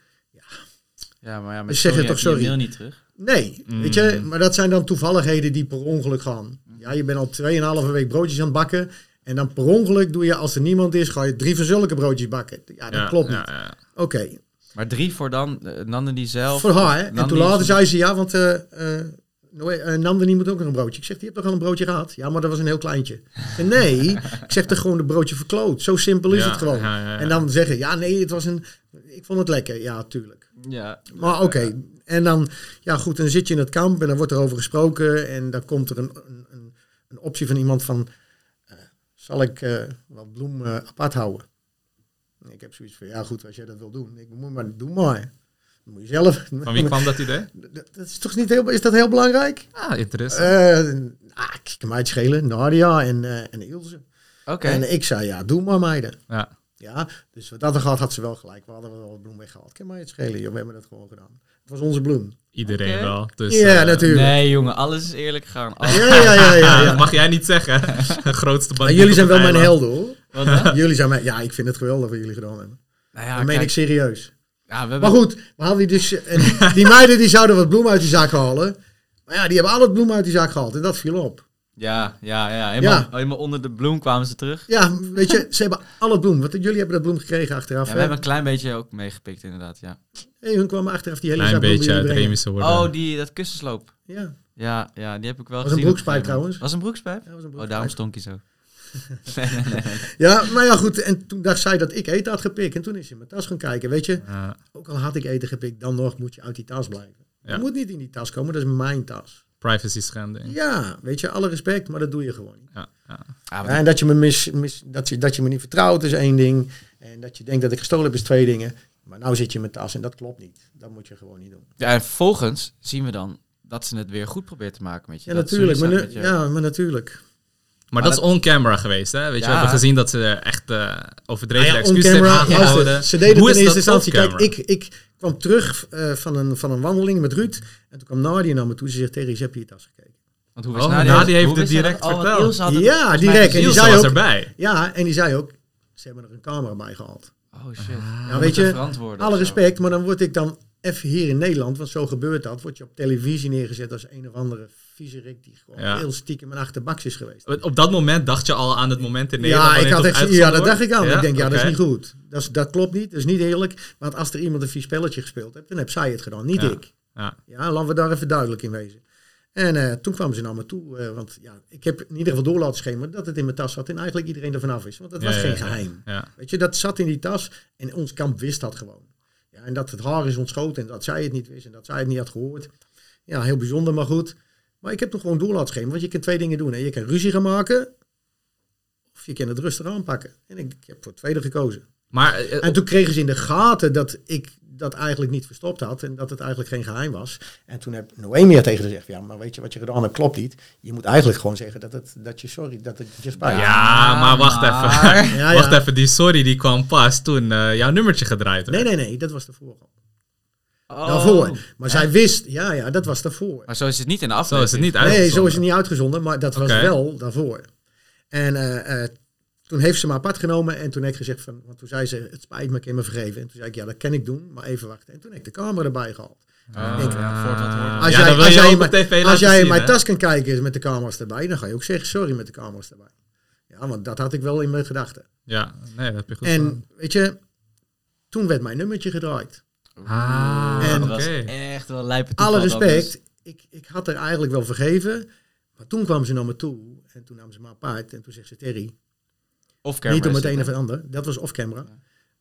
ja, maar ja,
Ze
met
zeggen
sorry
toch
heb je
sorry?
je mail niet terug.
Nee,
Mm.
weet je, maar dat zijn dan toevalligheden die per ongeluk gaan. Ja, je bent al 2,5 week broodjes aan het bakken. En dan per ongeluk doe je, als er niemand is, ga je drie van zulke broodjes bakken. Ja, dat
Ja,
klopt
ja,
niet.
ja.
Oké,
Maar drie voor dan, eh, Nandini zelf.
voor haar. En
Nandini
toen later
is-
zei ze, ja, want eh eh Noe- eh, Nandini moet ook nog een broodje. Ik zeg, die hebt toch al een broodje gehad? Ja, maar dat was een heel kleintje. Ik zeg, nee, ik zeg toch gewoon de broodje verkloot. Zo simpel is
Ja,
het gewoon.
ja, ja, ja.
En dan zeggen, ja, nee, het was een... Ik vond het lekker. Ja, tuurlijk.
Ja,
Maar oké, en dan, ja goed, dan zit je in het kamp en dan wordt er over gesproken en dan komt er een, een, een- een optie van iemand van, eh, zal ik eh, wat bloem eh, apart houden? En ik heb zoiets van, ja goed, als jij dat wil doen, ik moet maar, doe maar. Dat moet je zelf.
Van wie kwam dat idee?
Dat dat is toch niet heel, is dat heel belangrijk?
Ah, interessant.
Eh ah, ik kan mij het schelen, Nadia en, eh, en Ilse.
oké.
En eh, ik zei, ja, doe maar meiden.
Ja.
Ja, dus wat dat er gehad, had ze wel gelijk. We hadden wel wat bloem weggehaald. Kan mij het schelen, joh, we hebben dat gewoon gedaan. Het was onze bloem.
Iedereen
Oké.
wel. Dus,
ja,
eh,
natuurlijk.
Nee, jongen, alles is eerlijk gegaan. Alles-
Ja, ja, ja, ja.
ah,
ja.
Mag jij niet zeggen. De grootste
Maar
band.
jullie zijn wel mijn helden hoor.
Wat dan?
Jullie zijn mijn, ja, ik vind het geweldig wat jullie gedaan hebben.
Nou ja,
dat meen
kijk,
ik serieus.
Ja, we hebben...
Maar goed, we hadden die dus. en die meiden die zouden wat bloem uit die zak halen. Maar ja, die hebben al het bloem uit die zak gehaald en dat viel op.
Ja, ja, ja. Helemaal,
Ja.
helemaal onder de bloem kwamen ze terug.
Ja, weet je, ze hebben al het bloem. Want jullie hebben dat bloem gekregen achteraf.
Ja,
hè?
we hebben een klein beetje ook meegepikt, inderdaad, ja.
hey, hun kwamen achteraf die hele
Klein
zak bloem
beetje
bij
uit
jullie brengen.
remische worden.
Oh, die, dat kussensloop.
Ja,
Ja, ja, die heb ik wel
Was een broekspijp
gezien. op een gegeven moment.
trouwens.
Was een broekspijp?
dat was een
Oh,
broekspijp.
daarom stonk je zo. nee, nee, nee, nee.
Ja, maar ja, goed. En toen dacht zij dat ik eten had gepikt. En toen is ze in mijn tas gaan kijken. Weet je,
Ja.
ook al had ik eten gepikt, dan nog moet je uit die tas blijven.
Ja.
Je moet niet in die tas komen, dat is mijn tas.
privacy schending.
Ja, weet je, alle respect, maar dat doe je gewoon niet.
Ja, ja.
Ah, wat-
Ja, en dat je, me mis, mis, dat, je, dat je me niet vertrouwt is één ding. En dat je denkt dat ik gestolen heb is twee dingen. Maar nou zit je in mijn tas en dat klopt niet. Dat moet je gewoon niet doen.
Ja, en vervolgens zien we dan dat ze het weer goed probeert te maken met je.
Ja,
Dat ze
natuurlijk. Maar,
zoiets
nu-
had met je.
ja, maar natuurlijk.
Maar,
Maar
dat is on-camera geweest, hè? Weet je,
Ja.
we hebben gezien dat ze er echt eh overdreven
Nou ja,
excuses hebben
on-camera,
aangehouden.
luister, Ze deden
Hoe
het in
is
eerste
dat
instantie. Kijk,
off-camera?
ik, ik kwam terug eh, van, een, van een wandeling met Ruud. En toen kwam Nadia naar me toe. Ze zegt, Terry, ze heb je je tas gekeken.
Want hoe was
Oh,
Nadia?
Nadia heeft het
Hoe wist zij
direct
dat? Oh, want
verteld.
Ilse had het
Ja,
volgens mij
direct.
gezien.
En die
Ilse
zei
was
ook-
erbij.
Ja, en die zei ook, ze hebben er een camera bij gehaald.
Oh shit.
Ja, Nou, weet je,
verantwoorden
alle
of zo.
respect, maar dan word ik dan even hier in Nederland, want zo gebeurt dat, word je op televisie neergezet als een of andere viezerik die gewoon
Ja.
heel stiekem een achterbaks is geweest.
Op dat moment dacht je al aan het moment in Nederland.
Ja, ik
wanneer
had
het
echt, ja,
uitgezonden
dat dacht ik aan.
wordt?
ik denk, ja, dat is
oké.
niet goed. Dat, is, dat klopt niet, dat is niet eerlijk. Want als er iemand een vies spelletje gespeeld heeft, dan heb zij het gedaan, niet
Ja.
ik.
Ja.
Ja, laten we daar even duidelijk in wezen. En eh, toen kwamen ze naar me toe, eh, want ja, ik heb in ieder geval door laten schemeren dat het in mijn tas zat en eigenlijk iedereen er vanaf is, want het
Ja,
was
ja,
geen
ja.
geheim.
Ja.
Weet je, dat zat in die tas en ons kamp wist dat gewoon. Ja, en dat het haar is ontschoten en dat zij het niet wist en dat zij het niet had gehoord. Ja, heel bijzonder, maar goed. Maar ik heb nog gewoon door laten schemeren, want je kan twee dingen doen. Hè. Je kan ruzie gaan maken of je kan het rustig aanpakken. En ik, ik heb voor het tweede gekozen.
Maar eh,
En toen kregen ze in de gaten dat ik dat eigenlijk niet verstopt had en dat het eigenlijk geen geheim was. En toen heb Noemi er tegen gezegd, ja, maar weet je wat je gedaan hebt, klopt niet. Je moet eigenlijk gewoon zeggen dat, het, dat je sorry, dat het je spijt.
Ja, maar wacht
maar-
even.
Ah, Ja, ja.
Wacht even, die sorry die kwam pas toen eh, jouw nummertje gedraaid werd.
Nee, nee, nee, dat was de vooral.
Oh.
Daarvoor. Maar zij wist, ja, ja, dat was daarvoor.
Maar zo is het niet in de
Zo
aflevering.
is het niet
Nee,
uitgezonden.
zo is het niet uitgezonden, maar dat was
Oké.
wel daarvoor. En eh, eh, toen heeft ze me apart genomen en toen heb ik gezegd van, want toen zei ze, het spijt me, ik kan me vergeven. En toen zei ik, ja, dat kan ik doen, maar even wachten. En toen heb ik de camera erbij gehaald.
Ah,
Ik-
ja,
Voordat het wordt-
Oh, ja,
Als
dan
jij,
wil
als
je
jij,
ook
in mijn-
op tv
als
laten
jij in
zien,
mijn
hè?
tas kan kijken met de camera's erbij, dan ga je ook zeggen, sorry met de camera's erbij. Ja, want dat had ik wel in mijn gedachten.
Ja, nee, dat heb je goed gedaan.
En weet je, toen werd mijn nummertje gedraaid.
Ah,
En-
dat
oké.
was echt wel lijpe
alle
toeval dus dat
respect,
dus.
ik, ik had er eigenlijk wel vergeven. Maar toen kwam ze naar me toe en toen nam ze me apart. En toen zegt ze, Terry,
dus. Of
niet om
camera is
het een of
dan.
het ander. Dat was off-camera.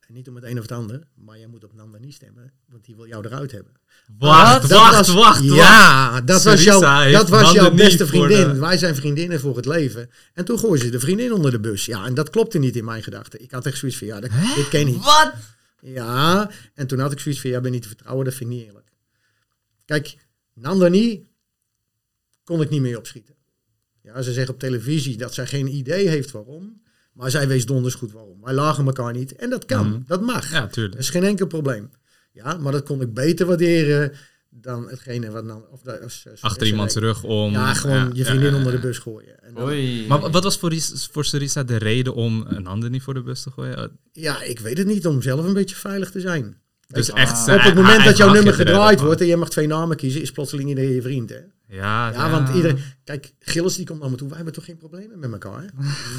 En niet om het een of het ander. Maar jij moet op Nanda niet stemmen, want die wil jou eruit hebben.
Wacht,
Dat
wacht,
was-
wacht, wacht.
Ja, dat was,
Sarissa
jouw,
heeft
dat was
Nanda
jouw
niet voor
beste vriendin.
de-
Wij zijn vriendinnen voor het leven. En toen gooien ze de vriendin onder de bus. Ja, en dat klopte niet in mijn gedachten. Ik had echt zoiets van, ja, dat, dit ken je niet.
Wat?
Ja, en toen had ik zoiets van, jij bent niet te vertrouwen, dat vind ik niet eerlijk. Kijk, Nandani kon ik niet mee opschieten. Ja, ze zegt op televisie dat zij geen idee heeft waarom, maar zij wees donders goed waarom. Wij lagen elkaar niet en dat kan, dat mag.
Mhm. Ja, tuurlijk.
Dat is geen enkel probleem. Ja, maar dat kon ik beter waarderen dan hetgene wat... Nan- Of, dat- als- eh, als-
Achter iemands rug om...
Ja, gewoon je vriendin onder de bus gooien. En dan-
Oei.
Maar wa- wat was voor, Ris- voor Sarissa de reden om een ander niet voor de bus te gooien? Eh,
ja, ik weet het niet, om zelf een beetje veilig te zijn.
Dus
je,
echt zijn
Op het
eigen
moment dat jouw
hapje
nummer
te redden,
gedraaid
man.
wordt en je mag twee namen kiezen, is plotseling iedereen je vriend. Hè?
Ja,
Ja, want iedereen. Kijk, Gilles die komt naar me toe. Wij hebben toch geen problemen met elkaar?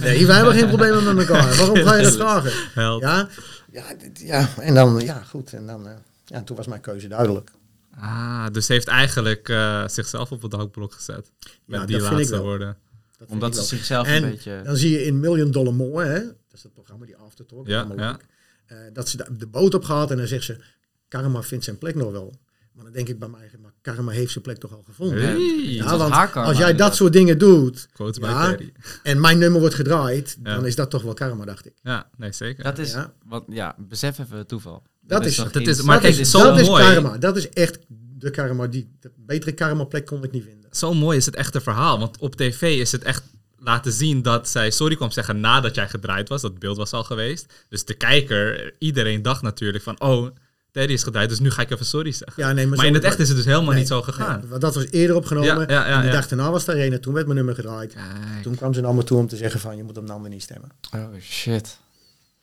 Nee, wij hebben geen problemen met elkaar. Waarom ga je dat vragen?
Help.
Ja, ja, dit- ja en dan, ja, goed. En dan, eh, ja, toen was mijn keuze duidelijk.
Ah, dus ze heeft eigenlijk eh, zichzelf op het dakblok gezet. Met
dat
die
vind ik
laatste
wel.
woorden.
Dat vind
Omdat
ik
ze
wel.
zichzelf
En
een beetje...
dan zie je in Million Dollar More, hè, dat is dat programma, die Aftertalk,
Ja,
allemaal
ja.
leuk, eh, dat ze de, de boot op gaat en dan zegt ze, karma vindt zijn plek nog wel. Maar dan denk ik bij mij, maar karma heeft zijn plek toch al gevonden.
Hey.
was
Ja, want
haar karma,
als jij dat
inderdaad.
soort dingen doet
Quote
Ja.
by Terry.
en mijn nummer wordt gedraaid,
Ja.
dan is dat toch wel karma, dacht ik.
Ja, nee, zeker.
Dat is...
Ja.
Want, ja, besef even het toeval.
Dat is-
toch
dat
geen-
is- maar
dat
kijk,
is,
zo
dat
mooi.
is karma. Dat is echt de karma. Die, de betere karma plek kon ik niet vinden.
Zo mooi is het echte verhaal. Want op tv is het echt laten zien dat zij sorry kwam zeggen nadat jij gedraaid was. Dat beeld was al geweest. Dus de kijker, iedereen dacht natuurlijk van... Oh, Terry is gedraaid, dus nu ga ik even sorry zeggen.
Ja, nee, maar,
maar
zo-
in het echt is het dus helemaal
Nee,
niet zo gegaan.
nee, want dat was eerder opgenomen.
Ja, ja, ja,
en de
ja.
dag daarna was daar een en toen werd mijn nummer gedraaid. Toen kwam ze naar me toe om te zeggen van je moet op Nanda niet stemmen.
Oh, shit.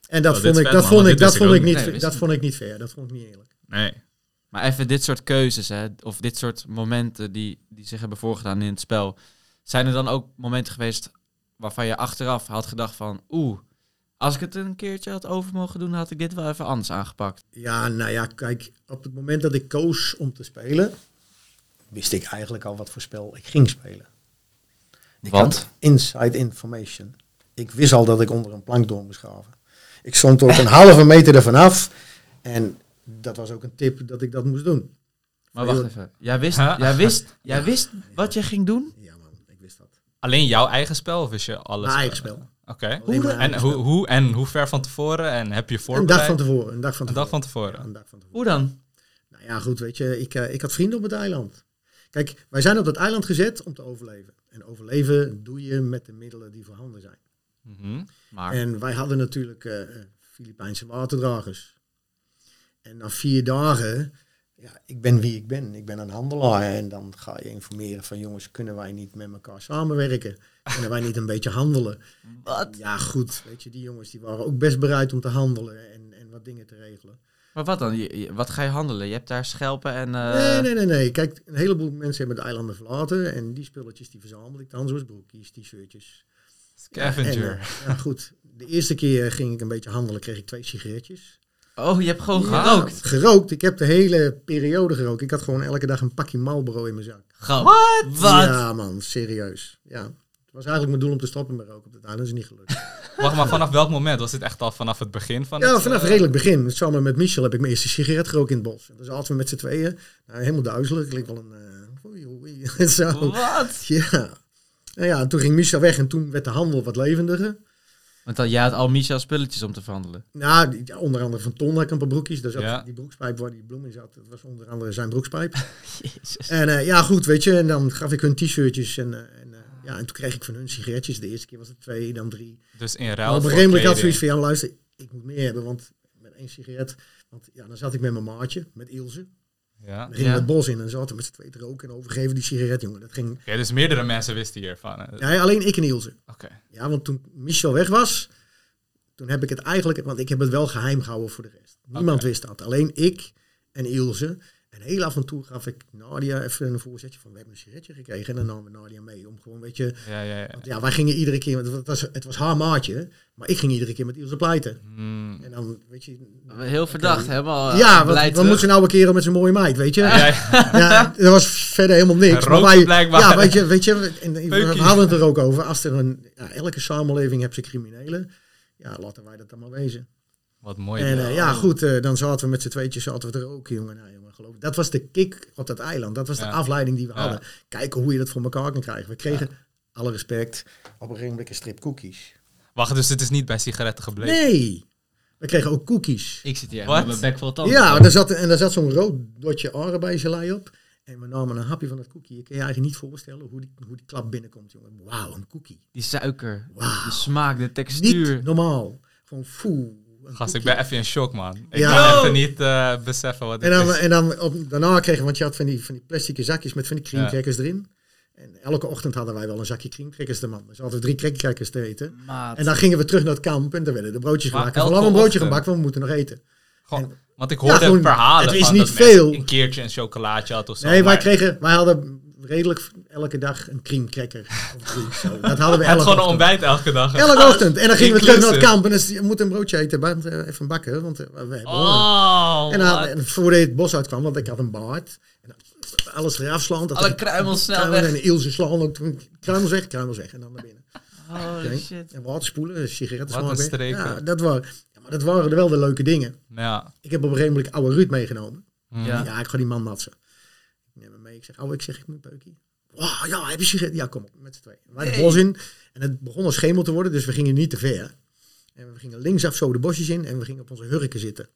En dat
Oh, dit
vond
is
ik,
vet,
dat
man, want
vond ik,
Oh, dit
dat
wist ik
vond ik
ook
niet,
niet. Nee,
dat
wist
vond ik niet fair. Dat vond ik niet eerlijk.
Nee.
Maar even dit soort keuzes, hè, of dit soort momenten die, die zich hebben voorgedaan in het spel. Zijn er dan ook momenten geweest waarvan je achteraf had gedacht van... Oeh, als ik het een keertje had over mogen doen, had ik dit wel even anders aangepakt.
Ja, nou ja, kijk, op het moment dat ik koos om te spelen,
Wist ik eigenlijk al wat voor spel ik ging spelen. Ik
Want?
had inside information. Ik wist al dat ik onder een plank door moest graven. Ik stond ook een halve meter ervan af. En dat was ook een tip dat ik dat moest doen.
Maar
Van,
wacht
joh,
even. Jij wist,
Huh?
jij wist, jij wist wat je ging doen?
Ja man, ik wist dat.
Alleen jouw eigen spel of is je alles?
Mijn eigen spel.
Oké.
Alleen
En
mijn eigen
hoe,
spel.
hoe, en hoe ver van tevoren? En heb je
Een dag
voorbereid?
van tevoren. Een dag van
Een
tevoren.
dag van tevoren.
Ja, een dag van tevoren.
Hoe dan?
Nou ja, goed, weet je, ik, eh, ik had vrienden op het eiland. Kijk, wij zijn op dat eiland gezet om te overleven. En overleven doe je met de middelen die voorhanden zijn.
Mhm.
Maar
En wij hadden natuurlijk eh, eh, Filipijnse waterdragers. En na vier dagen,
Ja, ik ben wie ik ben. Ik ben een handelaar. En dan ga je informeren van jongens, kunnen wij niet met elkaar samen?
samenwerken, kunnen wij niet een beetje handelen.
wat?
Ja, goed, weet je, die jongens die waren ook best bereid om te handelen en, en wat dingen te regelen.
Maar wat dan? Je- je- wat ga je handelen? Je hebt daar schelpen en... eh,
Nee, nee, nee, nee. Kijk, een heleboel mensen hebben de eilanden verlaten en die spulletjes die verzamelde ik dan, zoals broekjes, t-shirtjes.
Scavenger.
En, eh, ja, goed. De eerste keer ging ik een beetje handelen, kreeg ik twee sigaretjes.
Oh, je hebt gewoon
Ja,
gerookt.
Gerookt. Ik heb de hele periode gerookt. Ik had gewoon elke dag een pakje Marlboro in mijn zak.
Wat? Wat?
Ja, man, serieus. Ja. Het was eigenlijk mijn doel om te stoppen met roken op het eiland. Dat is niet gelukt.
Wacht maar, vanaf welk moment? Was dit echt al vanaf het begin van
eh, Ja,
het,
vanaf
eh,
redelijk begin. Samen met Michel heb ik mijn eerste sigaret gerookt in het bos. En dan zaten we met z'n tweeën. Nou, helemaal duizelig. Klinkt wel een... eh, oei, oei, en zo.
Wat?
Ja. En ja, toen ging Michel weg en toen werd de handel wat levendiger.
Want dan, jij had al Michel spulletjes om te verhandelen.
Nou, die- ja, onder andere van Ton had ik een paar broekjes. Daar zat
Ja.
die broekspijp waar die bloem in zat. Dat was onder andere zijn broekspijp.
Jezus.
En eh, ja, goed, weet je. En dan gaf ik hun t-shirtjes. En, eh, en, eh, ja, en toen kreeg ik van hun sigaretjes. De eerste keer was het twee, dan drie.
Dus in
Maar
ruil
Nou, op een
voor
gegeven moment had ik
kleding.
zoiets van, ja, luister, ik moet meer hebben, want met één sigaret. Want ja, dan zat ik met mijn maatje, met Ilse. En
Ja.
Dan gingen
Ja.
we het bos in en zaten we met z'n tweeën te roken en overgeven die sigaret, jongen. Dat ging...
Oké, dus meerdere mensen wisten hiervan. hè? Oké.
Ja, alleen ik en Ilse. Ja, want toen Michel weg was, toen heb ik het eigenlijk... Want ik heb het wel geheim gehouden voor de rest. Niemand
Oké.
wist dat. Alleen ik en Ilse. En heel af en toe gaf ik Nadia even een voorzetje van, we hebben een sigaretje gekregen. En dan namen we Nadia mee om gewoon, weet je...
Ja, ja, ja.
want ja, wij gingen iedere keer, want het was, het was haar maatje, maar ik ging iedere keer met Ilse pleiten.
Hmm.
En dan, weet je...
Heel verdacht, helemaal. eh,
ja, wat,
blij
wat
terug.
moet ze nou een kerel met zijn mooie meid, weet je?
Ja,
Ja,
ja.
dat was verder helemaal niks.
Hij rookte blijkbaar.
Ja, weet je, weet je en, en we
Peukie.
hadden het er ook over. Als er een, ja, elke samenleving heeft zijn criminelen. Ja, laten wij dat dan maar wezen.
Wat mooi.
En eh, ja, goed, eh, dan zaten we met z'n tweetjes zaten we er ook, jongen. Nou, jongen geloof ik. Dat was de kick op dat eiland. Dat was de
Ja.
afleiding die we
Ja.
hadden. Kijken hoe je dat voor elkaar kan krijgen. We kregen, alle respect, op een gegeven moment een strip cookies.
Wacht, dus het is niet bij sigaretten gebleven.
Nee, we kregen ook cookies.
Ik zit hier echt
Wat?
met mijn bek vol
Oh.
tanden.
Ja, daar zat, en daar zat zo'n rood dotje arenbeigelei op. En we namen een hapje van dat koekje. Je kan je eigenlijk niet voorstellen hoe die, hoe die klap binnenkomt, jongen. Wauw, een koekie.
Die suiker,
Wauw.
de smaak, de
Niet
textuur.
normaal. Gewoon foe. een
Gast, ik
koekie.
ben even in shock, man. Ik
Ja.
kan
Yo!
even niet eh, beseffen wat
En
dit
dan, eh,
is.
en dan op, daarna kregen we, want je had van die, van die plastic zakjes met van die kriemcrackers erin. En elke ochtend hadden wij wel een zakje kriemcrackers te man. Dus hadden we drie kriemcrackers te eten.
Maat.
En dan gingen we terug naar het kamp en dan werden de broodjes
Maar
gemaakt. Van, Laten
elke
we een broodje gaan
ochtend? Oh
bakken, want we moeten nog eten.
Gewoon, want ik hoorde
gewoon,
verhalen
het is
van
niet
dat mensen
veel.
een keertje een chocolaatje had of zo.
Nee, wij,
maar
kregen, wij hadden redelijk elke dag een kriemcracker. Of drie, zo. Dat hadden we
het gewoon een
elke ochtend.
ontbijt elke dag.
Elke ochtend. En dan gingen we terug naar het
Inclusive.
kamp. En dan is- je moet een broodje eten. want, eh, Even bakken, want eh, we hebben honger.
Oh,
En dan,
wat.
en voordat je het bos uitkwam, want ik had een baard. En dan alles eraf slaan. dat
Alle
ik-
kruimels snel
kruimels
weg.
En Ilse slaan ook. toen- Kruimels weg, kruimels weg. En dan naar binnen.
Holy
Oké.
Oh, shit.
En water spoelen, sigaretten
Wat een
smaken.
streker.
Ja, dat waren, ja, maar dat waren wel de leuke dingen.
Nou Ja.
Ik heb op een gegeven moment oude Ruud meegenomen.
Ja.
Ja, ik ga die man natsen. Ik neem hem mee. Ik zeg, ouwe, ik zeg, ik moet peukie. Wauw, ja, heb je sigaret? Ja, kom op, met z'n tweeën. Wij het bos in. En het begon al schemel te worden, dus we gingen niet te ver. En we gingen linksaf zo de bosjes in en we gingen op onze hurken zitten.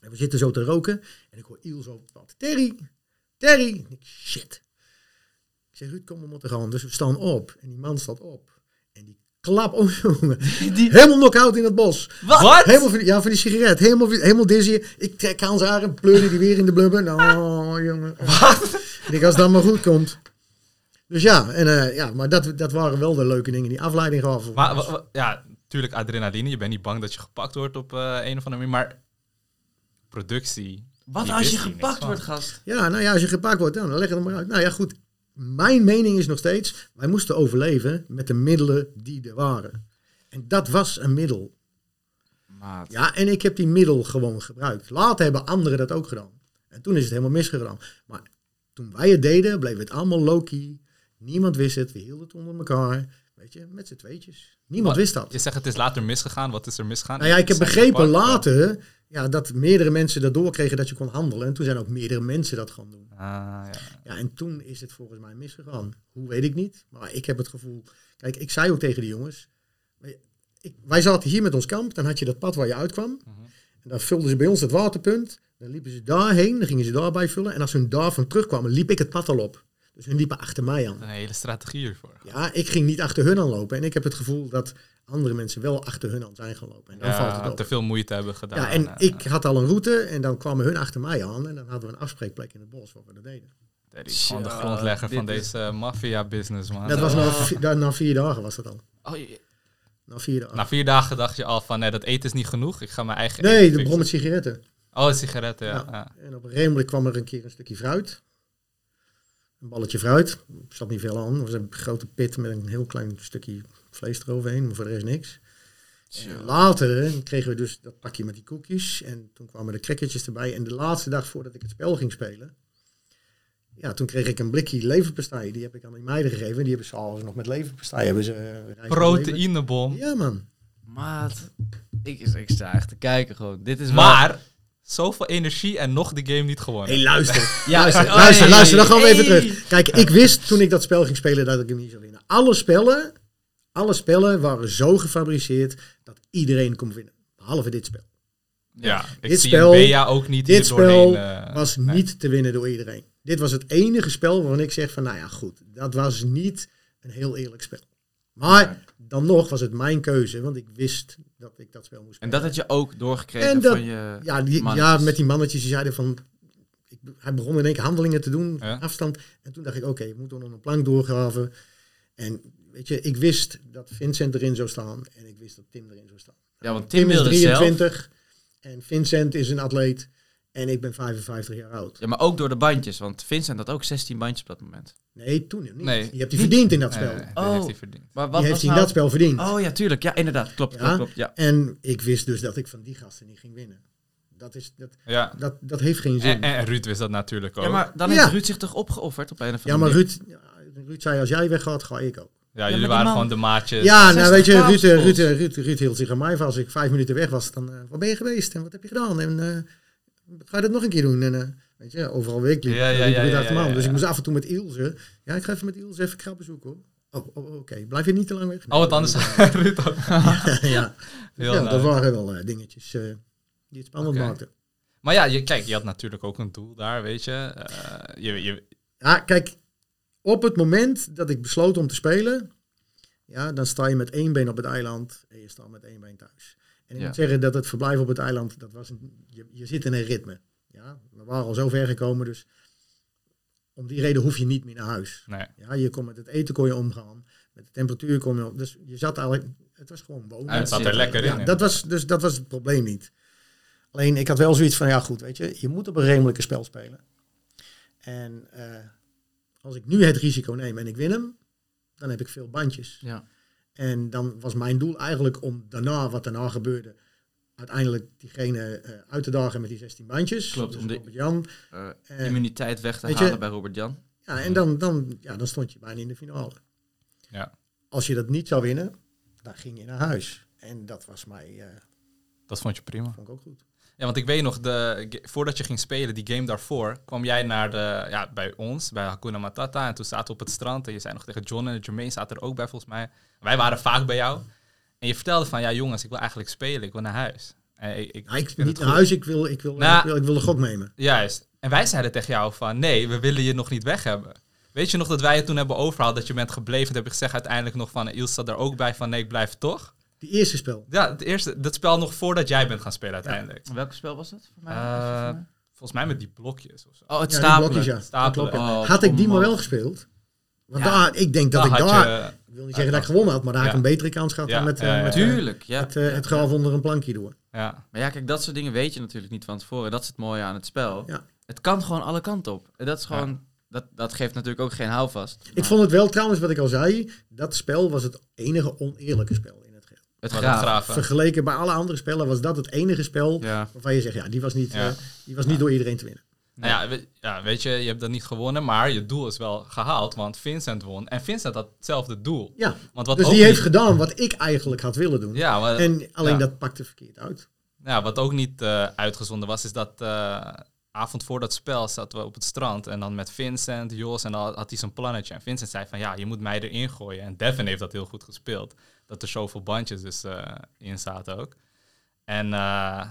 En we zitten zo te roken. En ik hoor Iel zo op het pad. Terry, Terry. En ik, shit. Ik zeg, Ruud, kom, we moeten gaan. Dus we staan op. En die man staat op. En die klap om, jongen. Helemaal knock-out in het bos.
Wat?
Helemaal van, die- ja, van die sigaret. Helemaal, helemaal dizzy. Ik trek aan zijn haar en pleurde die weer in de blubber.
Ah.
Nou, jongen. Ik denk, als dat maar goed komt. Dus ja, en, eh, ja maar dat, dat waren wel de leuke dingen die afleiding gaven.
Maar, wa- wa- ja, natuurlijk adrenaline. Je bent niet bang dat je gepakt wordt op eh, een of andere manier. Maar productie
Wat
Die
als
wist
je
hier niks
gepakt
van.
wordt, gast?
Ja, nou ja, als je gepakt wordt, dan leg het er maar uit. Nou ja, goed. Mijn mening is nog steeds, wij moesten overleven met de middelen die er waren. En dat was een middel.
Maat.
Ja, en ik heb die middel gewoon gebruikt. Later hebben anderen dat ook gedaan. En toen is het helemaal misgegaan. Maar toen wij het deden, bleef het allemaal low-key. Niemand wist het, we hielden het onder elkaar. Weet je, met z'n tweetjes. Niemand
Wat?
wist dat.
Je zegt het is later misgegaan. Wat is er misgegaan?
Nou ja, ik heb
Zijn
begrepen
gepakt?
later ja, dat meerdere mensen dat doorkregen dat je kon handelen. En toen zijn ook meerdere mensen dat gaan doen.
Ah, ja.
Ja, en toen is het volgens mij misgegaan. Hoe weet ik niet. Maar ik heb het gevoel. Kijk, ik zei ook tegen die jongens. wij- Ik, wij zaten hier met ons kamp. Dan had je dat pad waar je uitkwam. En dan vulden ze bij ons het waterpunt. Dan liepen ze daarheen. Dan gingen ze daarbij vullen. En als hun daarvan terugkwamen, liep ik het pad al op. Dus hun liepen achter mij aan.
Een hele strategie hiervoor.
Ja, ik ging niet achter hun aan lopen. En ik heb het gevoel dat andere mensen wel achter hun aan zijn gaan lopen. En dan valt het
te
op.
veel moeite hebben gedaan.
Ja, en
eh,
ik had al een route. En dan kwamen hun achter mij aan. En dan hadden we een afspreekplek in het bos waar we dat deden.
Teddy, gewoon de
Tja,
grondlegger
dit
van
is-
deze maffia-business, man. Eh,
Dat was na, vi- da- na vier dagen was dat al.
Ah. Oh, je- Nou,
Na vier dagen.
Na vier dagen dacht je al van, nee, dat eten is niet genoeg. Ik ga mijn eigen
Nee,
eten
de
fixen.
bron met sigaretten.
Oh, een sigaretten, ja.
Ja.
ja.
En op een gegeven moment kwam er een keer een stukje fruit. Een balletje fruit. Er zat niet veel aan. Het was een grote pit met een heel klein stukje vlees eroverheen. Maar voor de rest niks. En later kregen we dus dat pakje met die koekjes. En toen kwamen de crackertjes erbij. En de laatste dag voordat ik het spel ging spelen... Ja, toen kreeg ik een blikje leverpastei. Die heb ik aan die meiden gegeven. Die hebben ze s'avonds nog met leverpastei. Hebben ze, eh, rijst met lever.
Proteïnebom.
Ja, man.
maat. Ik, ik sta echt te kijken gewoon. Dit is wel-
Maar, zoveel energie en nog de game niet gewonnen.
hey, luister.
Ja,
Luister,
hey,
luister, luister, dan gaan we
Oh, hey.
even terug. Kijk, ik wist toen ik dat spel ging spelen dat ik hem niet zou winnen. Alle spellen, alle spellen waren zo gefabriceerd dat iedereen kon winnen. Behalve dit spel.
ja, ik
dit
zie
spel-
Bea ook niet
Dit
hier
spel
doorheen, eh,
was
nee.
niet te winnen door iedereen. Dit was het enige spel waarvan ik zeg van, nou ja, goed. Dat was niet een heel eerlijk spel. Maar dan nog was het mijn keuze, want ik wist dat ik dat spel moest
En
spelen.
dat had je ook doorgekregen
En dat-
van je...
Ja, die, ja,
mannetjes.
met die mannetjes die zeiden van... Ik, hij begon in één keer handelingen te doen,
Ja.
afstand. En toen dacht ik, oké, we moeten onder een plank doorgraven. En weet je, ik wist dat Vincent erin zou staan. En ik wist dat Tim erin zou staan.
Ja, want Tim wilde
is
zelf.
23. En Vincent is een atleet. En ik ben 55 jaar oud.
Ja, maar ook door de bandjes. Want Vincent had ook 16 bandjes op dat moment.
Nee, toen niet.
Nee.
Die hebt hij verdiend in dat
Nee,
spel.
nee, dit
Oh.
heeft hij verdiend.
Maar
Die heeft hij in dat spel verdiend.
Oh ja, tuurlijk. Ja, inderdaad. Klopt,
Ja.
klopt, klopt. Ja.
En ik wist dus dat ik van die gasten niet ging winnen. Dat, is, dat,
Ja.
dat, dat heeft geen zin.
En, en Ruud wist dat natuurlijk ook.
ja,
Ja,
maar dan
Ja.
heeft Ruud zich toch opgeofferd op een of andere
ja, maar
manier?
Ruud, ja, Ruud zei, als jij weggaat, ga ik ook.
maar
jullie
die
waren
man-
gewoon de maatjes.
Ja, nou
60
weet je, Ruud, eh,
kabels.
Ruud, eh, Ruud, Ruud hield zich aan mij vast. Als ik vijf minuten weg was, dan eh waar ben je geweest en wat heb je gedaan? En eh, ga je dat nog een keer doen? En eh, weet je, overal week liep
Ja, ja,
liep Ruud
ja, ja,
achter me aan.
ja, ja,
Dus ik
ja.
moest af en toe met Ilse. Ja, ik ga even met Ilse even krabben zoeken hoor. Oh, oh, oké. Blijf je niet te lang weg?
Oh, wat anders. Ruud ook.
ja,
Heel
ja
leuk.
dat waren wel eh, dingetjes eh, die het spannend
Oké.
maakten.
Maar ja, je, kijk, je had natuurlijk ook een doel daar, weet je. Eh, je, je
Ja, kijk, op het moment dat ik besloot om te spelen, ja, dan sta je met één been op het eiland en je staat met één been thuis. En ik
Ja.
moet zeggen dat het verblijf op het eiland, dat was een, je, je zit in een ritme. Ja, we waren al zo ver gekomen, dus om die reden hoef je niet meer naar huis.
nee.
Ja, je kon met het eten kon je omgaan, met de temperatuur kon je om. Dus je zat eigenlijk, het was gewoon wonen.
Hij
dat
zat
zit
er
er-
lekker in.
Ja, dat was, dus dat was het probleem niet. Alleen ik had wel zoiets van, ja goed, weet je, je moet op een redelijke spel spelen. En eh, als ik nu het risico neem en ik win hem, dan heb ik veel bandjes.
Ja.
En dan was mijn doel eigenlijk om daarna, wat daarna gebeurde, uiteindelijk diegene eh, uit te dagen met die 16 bandjes.
Klopt,
Dus
om die-
Robert Jan.
Eh,
Eh,
immuniteit weg te
weet je-
halen bij Robert Jan.
ja, en dan, dan, ja, dan stond je bijna in de finale.
Ja.
Als je dat niet zou winnen, dan ging je naar huis. En dat was mij, eh,
dat vond je prima.
vond ik ook goed.
Ja, want ik weet nog, de, ge- voordat je ging spelen, die game daarvoor, kwam jij naar de, ja, bij ons, bij Hakuna Matata. En toen zaten we op het strand en je zei nog tegen John en Jermaine zaten er ook bij volgens mij. Wij waren vaak bij jou. En je vertelde van, ja jongens, ik wil eigenlijk spelen, ik wil naar huis. En ik, ik,
Nou, ik,
vind het
niet naar
goed.
huis, ik wil, ik, wil,
Nou,
ik, wil, ik wil de gok nemen.
Juist. En wij zeiden tegen jou van, nee, we willen je nog niet weg hebben. Weet je nog dat wij je toen hebben overhaald, dat je bent gebleven? Toen heb ik gezegd uiteindelijk nog van, Ilse zat er ook bij van, nee, ik blijf toch?
Die eerste spel.
Ja, het eerste, dat spel nog voordat jij bent gaan spelen uiteindelijk.
Welk spel was Oh, dat voor mij?
Eh, volgens mij met die blokjes of zo.
oh, het
Ja, die
stapelen.
blokjes, ja.
Stapelen.
Dat klopt, ja.
Oh,
Had ik die maar wel
onmogelijk.
gespeeld, Want
Ja.
daar, ik denk dat
Dan
ik
Nou, had
daar,
je-
ik wil niet zeggen dat ik gewonnen had, maar daar had ik
Ja.
een betere kans gehad
Ja,
dan met, eh,
ja, ja,
met, eh,
Tuurlijk, ja.
het, eh, het graf onder een plankje door.
ja.
Maar ja, kijk, dat soort dingen weet je natuurlijk niet van tevoren. Dat is het mooie aan het spel.
Ja.
Het kan gewoon alle kanten op. En dat is gewoon... Dat, dat geeft natuurlijk ook geen houvast.
Ik vond het wel trouwens, wat ik al zei, dat spel was het enige oneerlijke spel in het geheel.
Het
Wat
graven.
een graven.
Vergeleken bij alle andere spellen was dat het enige spel
Ja.
waarvan je zegt, ja, die was niet,
Ja.
eh, die was niet door iedereen te winnen.
Nou ja, we- ja, weet je, je hebt dat niet gewonnen, maar je doel is wel gehaald, want Vincent won. En Vincent had hetzelfde doel.
Ja,
Want wat
dus
ook
die heeft
niet-
gedaan wat ik eigenlijk had willen doen.
Ja, maar-
en alleen
ja.
dat pakte verkeerd uit.
Ja, wat ook niet eh, uitgezonden was, is dat eh, avond voor dat spel zaten we op het strand. En dan met Vincent, Jos en dan had hij zijn plannetje. En Vincent zei van, ja, je moet mij erin gooien. En Devin heeft dat heel goed gespeeld. Dat er zoveel bandjes dus eh, in zaten ook. En eh,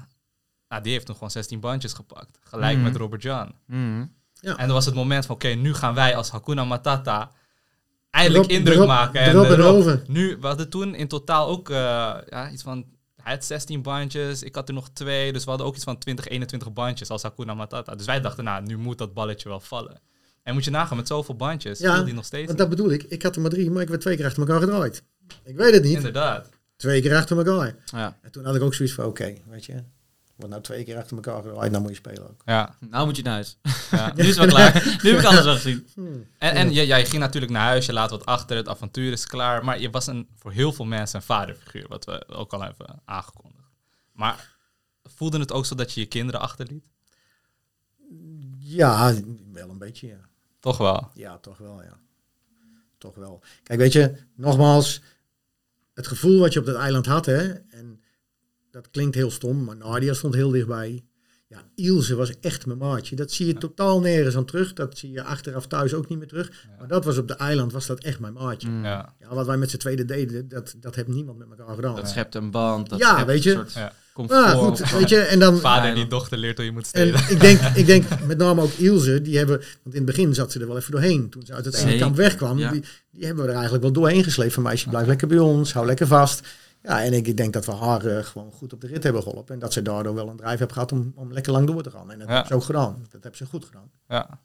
nou, die heeft toen gewoon 16 bandjes gepakt. Gelijk met Robert John.
Mhm.
En dat was het moment van, oké, nu gaan wij als Hakuna Matata eindelijk
Drop-
indruk
drop-
maken. En
drop
eh,
en
Rob,
over.
Nu, we hadden toen in totaal ook eh, ja, iets van, hij had 16 bandjes, ik had er nog twee. Dus we hadden ook iets van 20, 21 bandjes als Hakuna Matata. Dus wij dachten, nou, nu moet dat balletje wel vallen. En moet je nagaan, met zoveel bandjes viel die nog steeds
want
niet.
dat bedoel ik. Ik had er maar drie, maar ik werd twee keer achter elkaar gedraaid. Ik weet het niet.
Inderdaad.
Twee keer achter elkaar.
Ja.
En toen had ik ook zoiets van, oké, weet je. Wordt nou twee keer achter elkaar gedraaid, dan moet je spelen ook.
Ja.
Nou moet je naar huis.
Ja.
nu is het wel klaar. Nu heb ik alles al gezien.
Hmm.
En, en jij, jij ging natuurlijk naar huis, je laat wat achter, het avontuur is klaar. Maar je was een, voor heel veel mensen een vaderfiguur, wat we ook al hebben aangekondigd. Maar voelde het ook zo dat je je kinderen achterliet?
Ja, wel een beetje, ja.
Toch wel.
Ja, toch wel, ja. Toch wel. Kijk, weet je, nogmaals, het gevoel wat je op dat eiland had, hè, en dat klinkt heel stom, maar Nadia stond heel dichtbij. Ja, Ilse was echt mijn maatje. Dat zie je totaal nergens aan terug. Dat zie je achteraf thuis ook niet meer terug. Maar dat was op de eiland, was dat echt mijn maatje.
Mm.
Hmm. Ja.
Ja, wat wij met z'n tweede deden, dat, dat heeft niemand met elkaar gedaan.
Dat schept een band. Dat
Ja,
schept
weet
een
je.
soort
Ja.
comfort.
Ja, goed, weet je, en dan...
Vader die dochter leert hoe je moet
En
stelen.
ik denk, ik denk met name ook Ilse, die hebben, want in het begin zat ze er wel even doorheen. Toen ze uit het ene
Zeker,
kamp wegkwam,
ja.
die, die hebben we er eigenlijk wel doorheen gesleept. Van meisje, blijf lekker bij ons, hou lekker vast. Ja, en ik, ik denk dat we haar eh, gewoon goed op de rit hebben geholpen. En dat ze daardoor wel een drijf heeft gehad om, om lekker lang door te gaan. En dat
Ja.
hebben ze ook gedaan. Dat hebben ze goed gedaan.
Ja.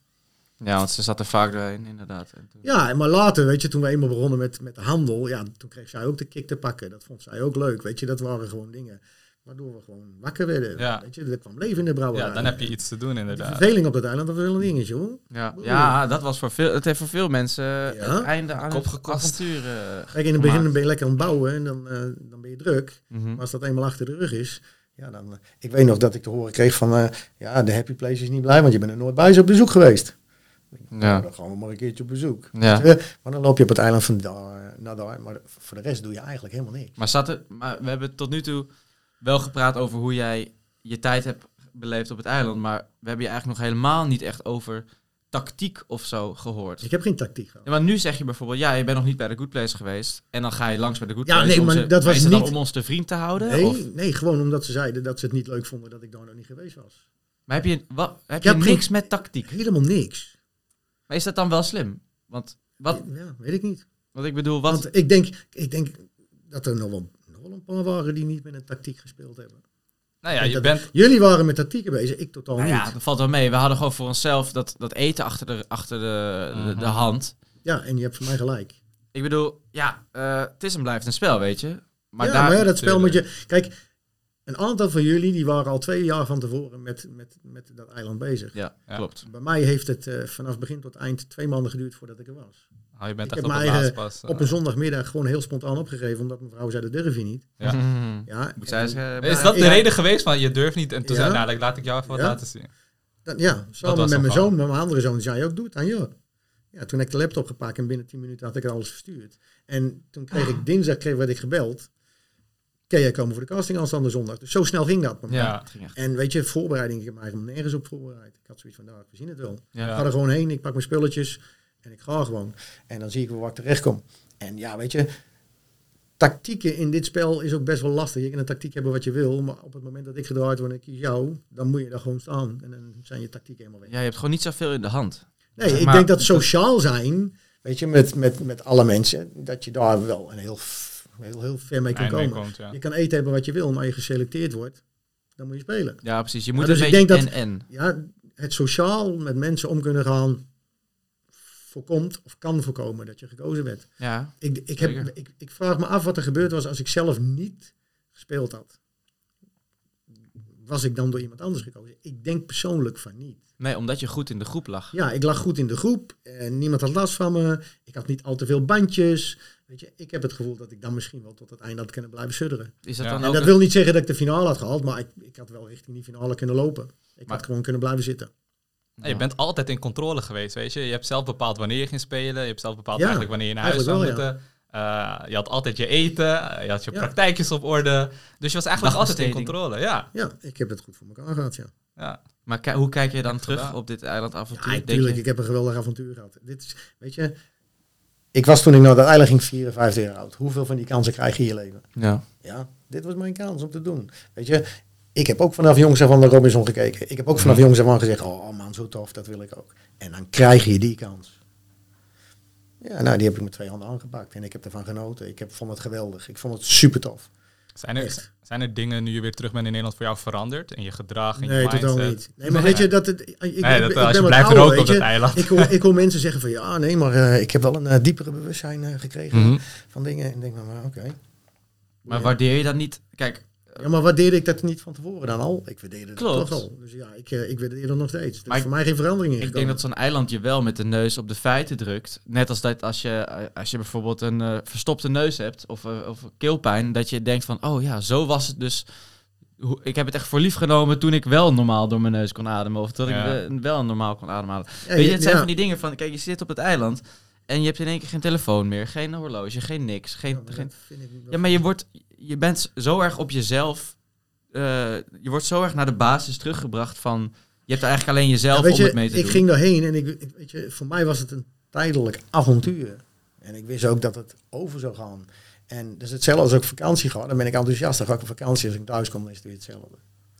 Ja, want ze zat er vaak doorheen, inderdaad. En toen-
Ja, en maar later, weet je, toen we eenmaal begonnen met, met de handel, ja, toen kreeg zij ook de kick te pakken. Dat vond zij ook leuk, weet je. Dat waren gewoon dingen waardoor we gewoon wakker werden.
Ja.
Weet je, er kwam leven in de brouwerij.
ja, dan heb je iets te doen
De
inderdaad.
verveling op dat eiland, dat was wel een dingetje, hoor.
Ja, ja dat was voor veel, het heeft voor veel mensen het einde aan
Kop
het
gekost.
avontuur eh,
Kijk, in het begin
gemaakt.
ben je lekker aan het bouwen en dan, eh, dan ben je druk.
Mhm.
Maar als dat eenmaal achter de rug is, ja, dan... eh, ik weet nog dat ik te horen kreeg van, eh, ja, de happy place is niet blij, want je bent er nooit bij ze op bezoek geweest. Nou,
Ja.
dan gaan we maar een keertje op bezoek.
Ja.
Weet je? Maar dan loop je op het eiland van daar naar daar, maar voor de rest doe je eigenlijk helemaal niks.
Maar, zat er, maar we hebben tot nu toe wel gepraat over hoe jij je tijd hebt beleefd op het eiland. Maar we hebben je eigenlijk nog helemaal niet echt over tactiek of zo gehoord.
Ik heb geen tactiek gehad.
Ja, maar nu zeg je bijvoorbeeld, ja, je bent nog niet bij de Good Place geweest. En dan ga je langs bij de Good
Ja,
Place.
nee,
om
maar
ze-
dat was
is het dan
niet-
om ons te vriend te houden? Of,
Nee, nee, gewoon omdat ze zeiden dat ze het niet leuk vonden dat ik daar nog niet geweest was.
maar heb je, wat, heb
Ja,
je
geen-
niks met tactiek?
Helemaal niks.
Maar is dat dan wel slim? Want wat,
Ja, weet ik niet.
wat ik bedoel, wat...
Want eh, ik denk, ik denk dat er nog wel, nog wel een paar waren die niet met een tactiek gespeeld hebben.
Nou ja, je
Ik denk dat-
bent...
Jullie waren met tactieken bezig, ik totaal
Nou
niet.
ja, dat valt wel mee. We hadden gewoon voor onszelf dat, dat eten achter, de, achter de, de, de hand.
Ja, en je hebt voor mij gelijk.
Ik bedoel, ja, eh, het is en blijft een spel, weet je. Maar
ja,
daar...
maar ja, dat spel moet
natuurlijk.
je... Kijk, een aantal van jullie die waren al twee jaar van tevoren met, met, met dat eiland bezig.
Ja,
Ja.
klopt.
Bij mij heeft het eh, vanaf begin tot eind twee maanden geduurd voordat ik er was.
Oh, je bent
Ik
echt
heb
op het
mijn
laatst
eigen
pas. eh.
Op een zondagmiddag gewoon heel spontaan opgegeven, omdat mevrouw zei dat durf je niet.
Ja.
Mhm.
Ja,
Moet zij
en
zeggen...
eh, is dat de
Ja.
reden geweest van je durft niet? En toen
Ja.
zei hij, nou, laat ik jou even wat
Ja.
laten zien.
dan- ja,
was
samen met
een
mijn
verhaal.
zoon, met mijn andere zoon, zei ook, doe het aan joh. Ja, toen heb ik de laptop gepakt en binnen tien minuten had ik er alles verstuurd. En toen kreeg
Ah.
ik dinsdag, kreeg, werd ik gebeld. Kun jij komen voor de casting aanstaande zondag? Dus zo snel ging dat. bij mij.
Ja.
Het ging echt-
En weet je, voorbereiding, ik heb me eigenlijk nergens op voorbereid. Ik had zoiets van, nou, we zien het wel.
Ja.
Ik ga er gewoon heen, ik pak mijn spulletjes en ik ga gewoon. En dan zie ik wel waar ik terecht kom. En ja, weet je, tactieken in dit spel is ook best wel lastig. Je kan een tactiek hebben wat je wil, maar op het moment dat ik gedraaid word en ik kies jou, dan moet je daar gewoon staan. En dan zijn je tactieken helemaal weg.
Ja, je hebt gewoon niet zoveel in de hand.
Nee,
Zeg
ik
maar-
denk dat sociaal zijn, weet je, met, met, met alle mensen, dat je daar wel een heel, f- heel, heel ver mee kan
Eind mee
komen.
komt, ja.
Je kan eten hebben wat je wil, maar je geselecteerd wordt, dan moet je spelen.
Ja, precies. Je moet
dus
een
ik
beetje
denk dat-
en-en.
ja, het sociaal met mensen om kunnen gaan voorkomt of kan voorkomen dat je gekozen werd.
Ja.
Ik, ik, heb,
Zeker.
ik, ik vraag me af wat er gebeurd was als ik zelf niet gespeeld had. Was ik dan door iemand anders gekozen? Ik denk persoonlijk van niet.
Nee, omdat je goed in de groep lag.
Ja, ik lag goed in de groep. En niemand had last van me. Ik had niet al te veel bandjes. Weet je, ik heb het gevoel dat ik dan misschien wel tot het einde had kunnen blijven sudderen.
Is dat
Ja.
dan
En
ook...
dat
een-
wil niet zeggen dat ik de finale had gehaald, maar ik, ik had wel richting die finale kunnen lopen. Ik
Maar-
had gewoon kunnen blijven zitten.
Ja, Je bent altijd in controle geweest, weet je. Je hebt zelf bepaald wanneer je ging spelen. Je hebt zelf bepaald
Ja,
eigenlijk wanneer je naar huis zou
eigenlijk wel,
moeten. Eh, je had altijd je eten, eh, je had je
Ja.
praktijkjes op orde. Dus je was eigenlijk altijd in
Dagbesteding.
controle, ja.
Ja, ik heb het goed voor elkaar gehad, ja.
ja.
Maar ki- hoe kijk je dan terug
gedaan.
op dit eilandavontuur?
Ja,
Denk
natuurlijk.
je-
Ik heb een geweldig avontuur gehad. Dit is, weet je, ik was toen ik naar dat eiland ging 54 jaar oud. Hoeveel van die kansen krijg je in je leven?
Ja.
Ja, dit was mijn kans om te doen. Weet je, ik heb ook vanaf jongs af aan naar Robinson gekeken. Ik heb ook vanaf jongs af aan gezegd, oh man, zo tof, dat wil ik ook. En dan krijg je die kans. Ja, nou, die heb ik met twee handen aangepakt. En ik heb ervan genoten. Ik heb, vond het geweldig. Ik vond het super tof.
Zijn, er,
Echt.
zijn er dingen nu je weer terug bent in Nederland voor jou veranderd? In je gedrag, in je
Nee,
mindset?
totaal
eh,
niet. Nee, maar weet je, dat het, ik, ik,
Nee, dat,
ik
als je
ben wat
blijft
ouder,
roken op
weet je.
dat eiland.
Ik hoor, ik hoor mensen zeggen van, ja, nee, maar eh, ik heb wel een eh, diepere bewustzijn eh, gekregen
Mhm.
van dingen. En ik denk, nou, maar oké.
Maar
Ja.
waardeer je dat niet? Kijk,
Ja, maar waardeerde ik dat niet van tevoren dan al? Ik waardeerde het
Klopt.
toch al. Dus ja, ik, eh, ik waardeer dat nog steeds. Er
Maar
is voor mij geen verandering in
ik denk
gekomen.
dat zo'n eiland je wel met de neus op de feiten drukt. Net als dat als je, als je bijvoorbeeld een eh, verstopte neus hebt of, eh, of keelpijn, dat je denkt van, oh ja, zo was het dus. Hoe- Ik heb het echt voor lief genomen toen ik wel normaal door mijn neus kon ademen. Of dat
Ja.
ik eh, wel normaal kon ademhalen.
Ja,
Weet je,
ja,
het zijn
ja.
van die dingen van, kijk, je zit op het eiland en je hebt in één keer geen telefoon meer, geen horloge, geen niks, geen,
Ja, maar
geen
dat vind ik niet-
Ja, maar je, wordt, je bent zo erg op jezelf. eh, je wordt zo erg naar de basis teruggebracht van. Je hebt eigenlijk alleen jezelf
Ja, weet
om
je,
het mee te
ik
doen.
ging daarheen en ik, ik- weet je, voor mij was het een tijdelijk avontuur. En ik wist ook dat het over zou gaan. En dus hetzelfde als ik op vakantie ga, dan ben ik enthousiast. Dan ga ik op vakantie, als ik thuis kom, dan is het weer hetzelfde.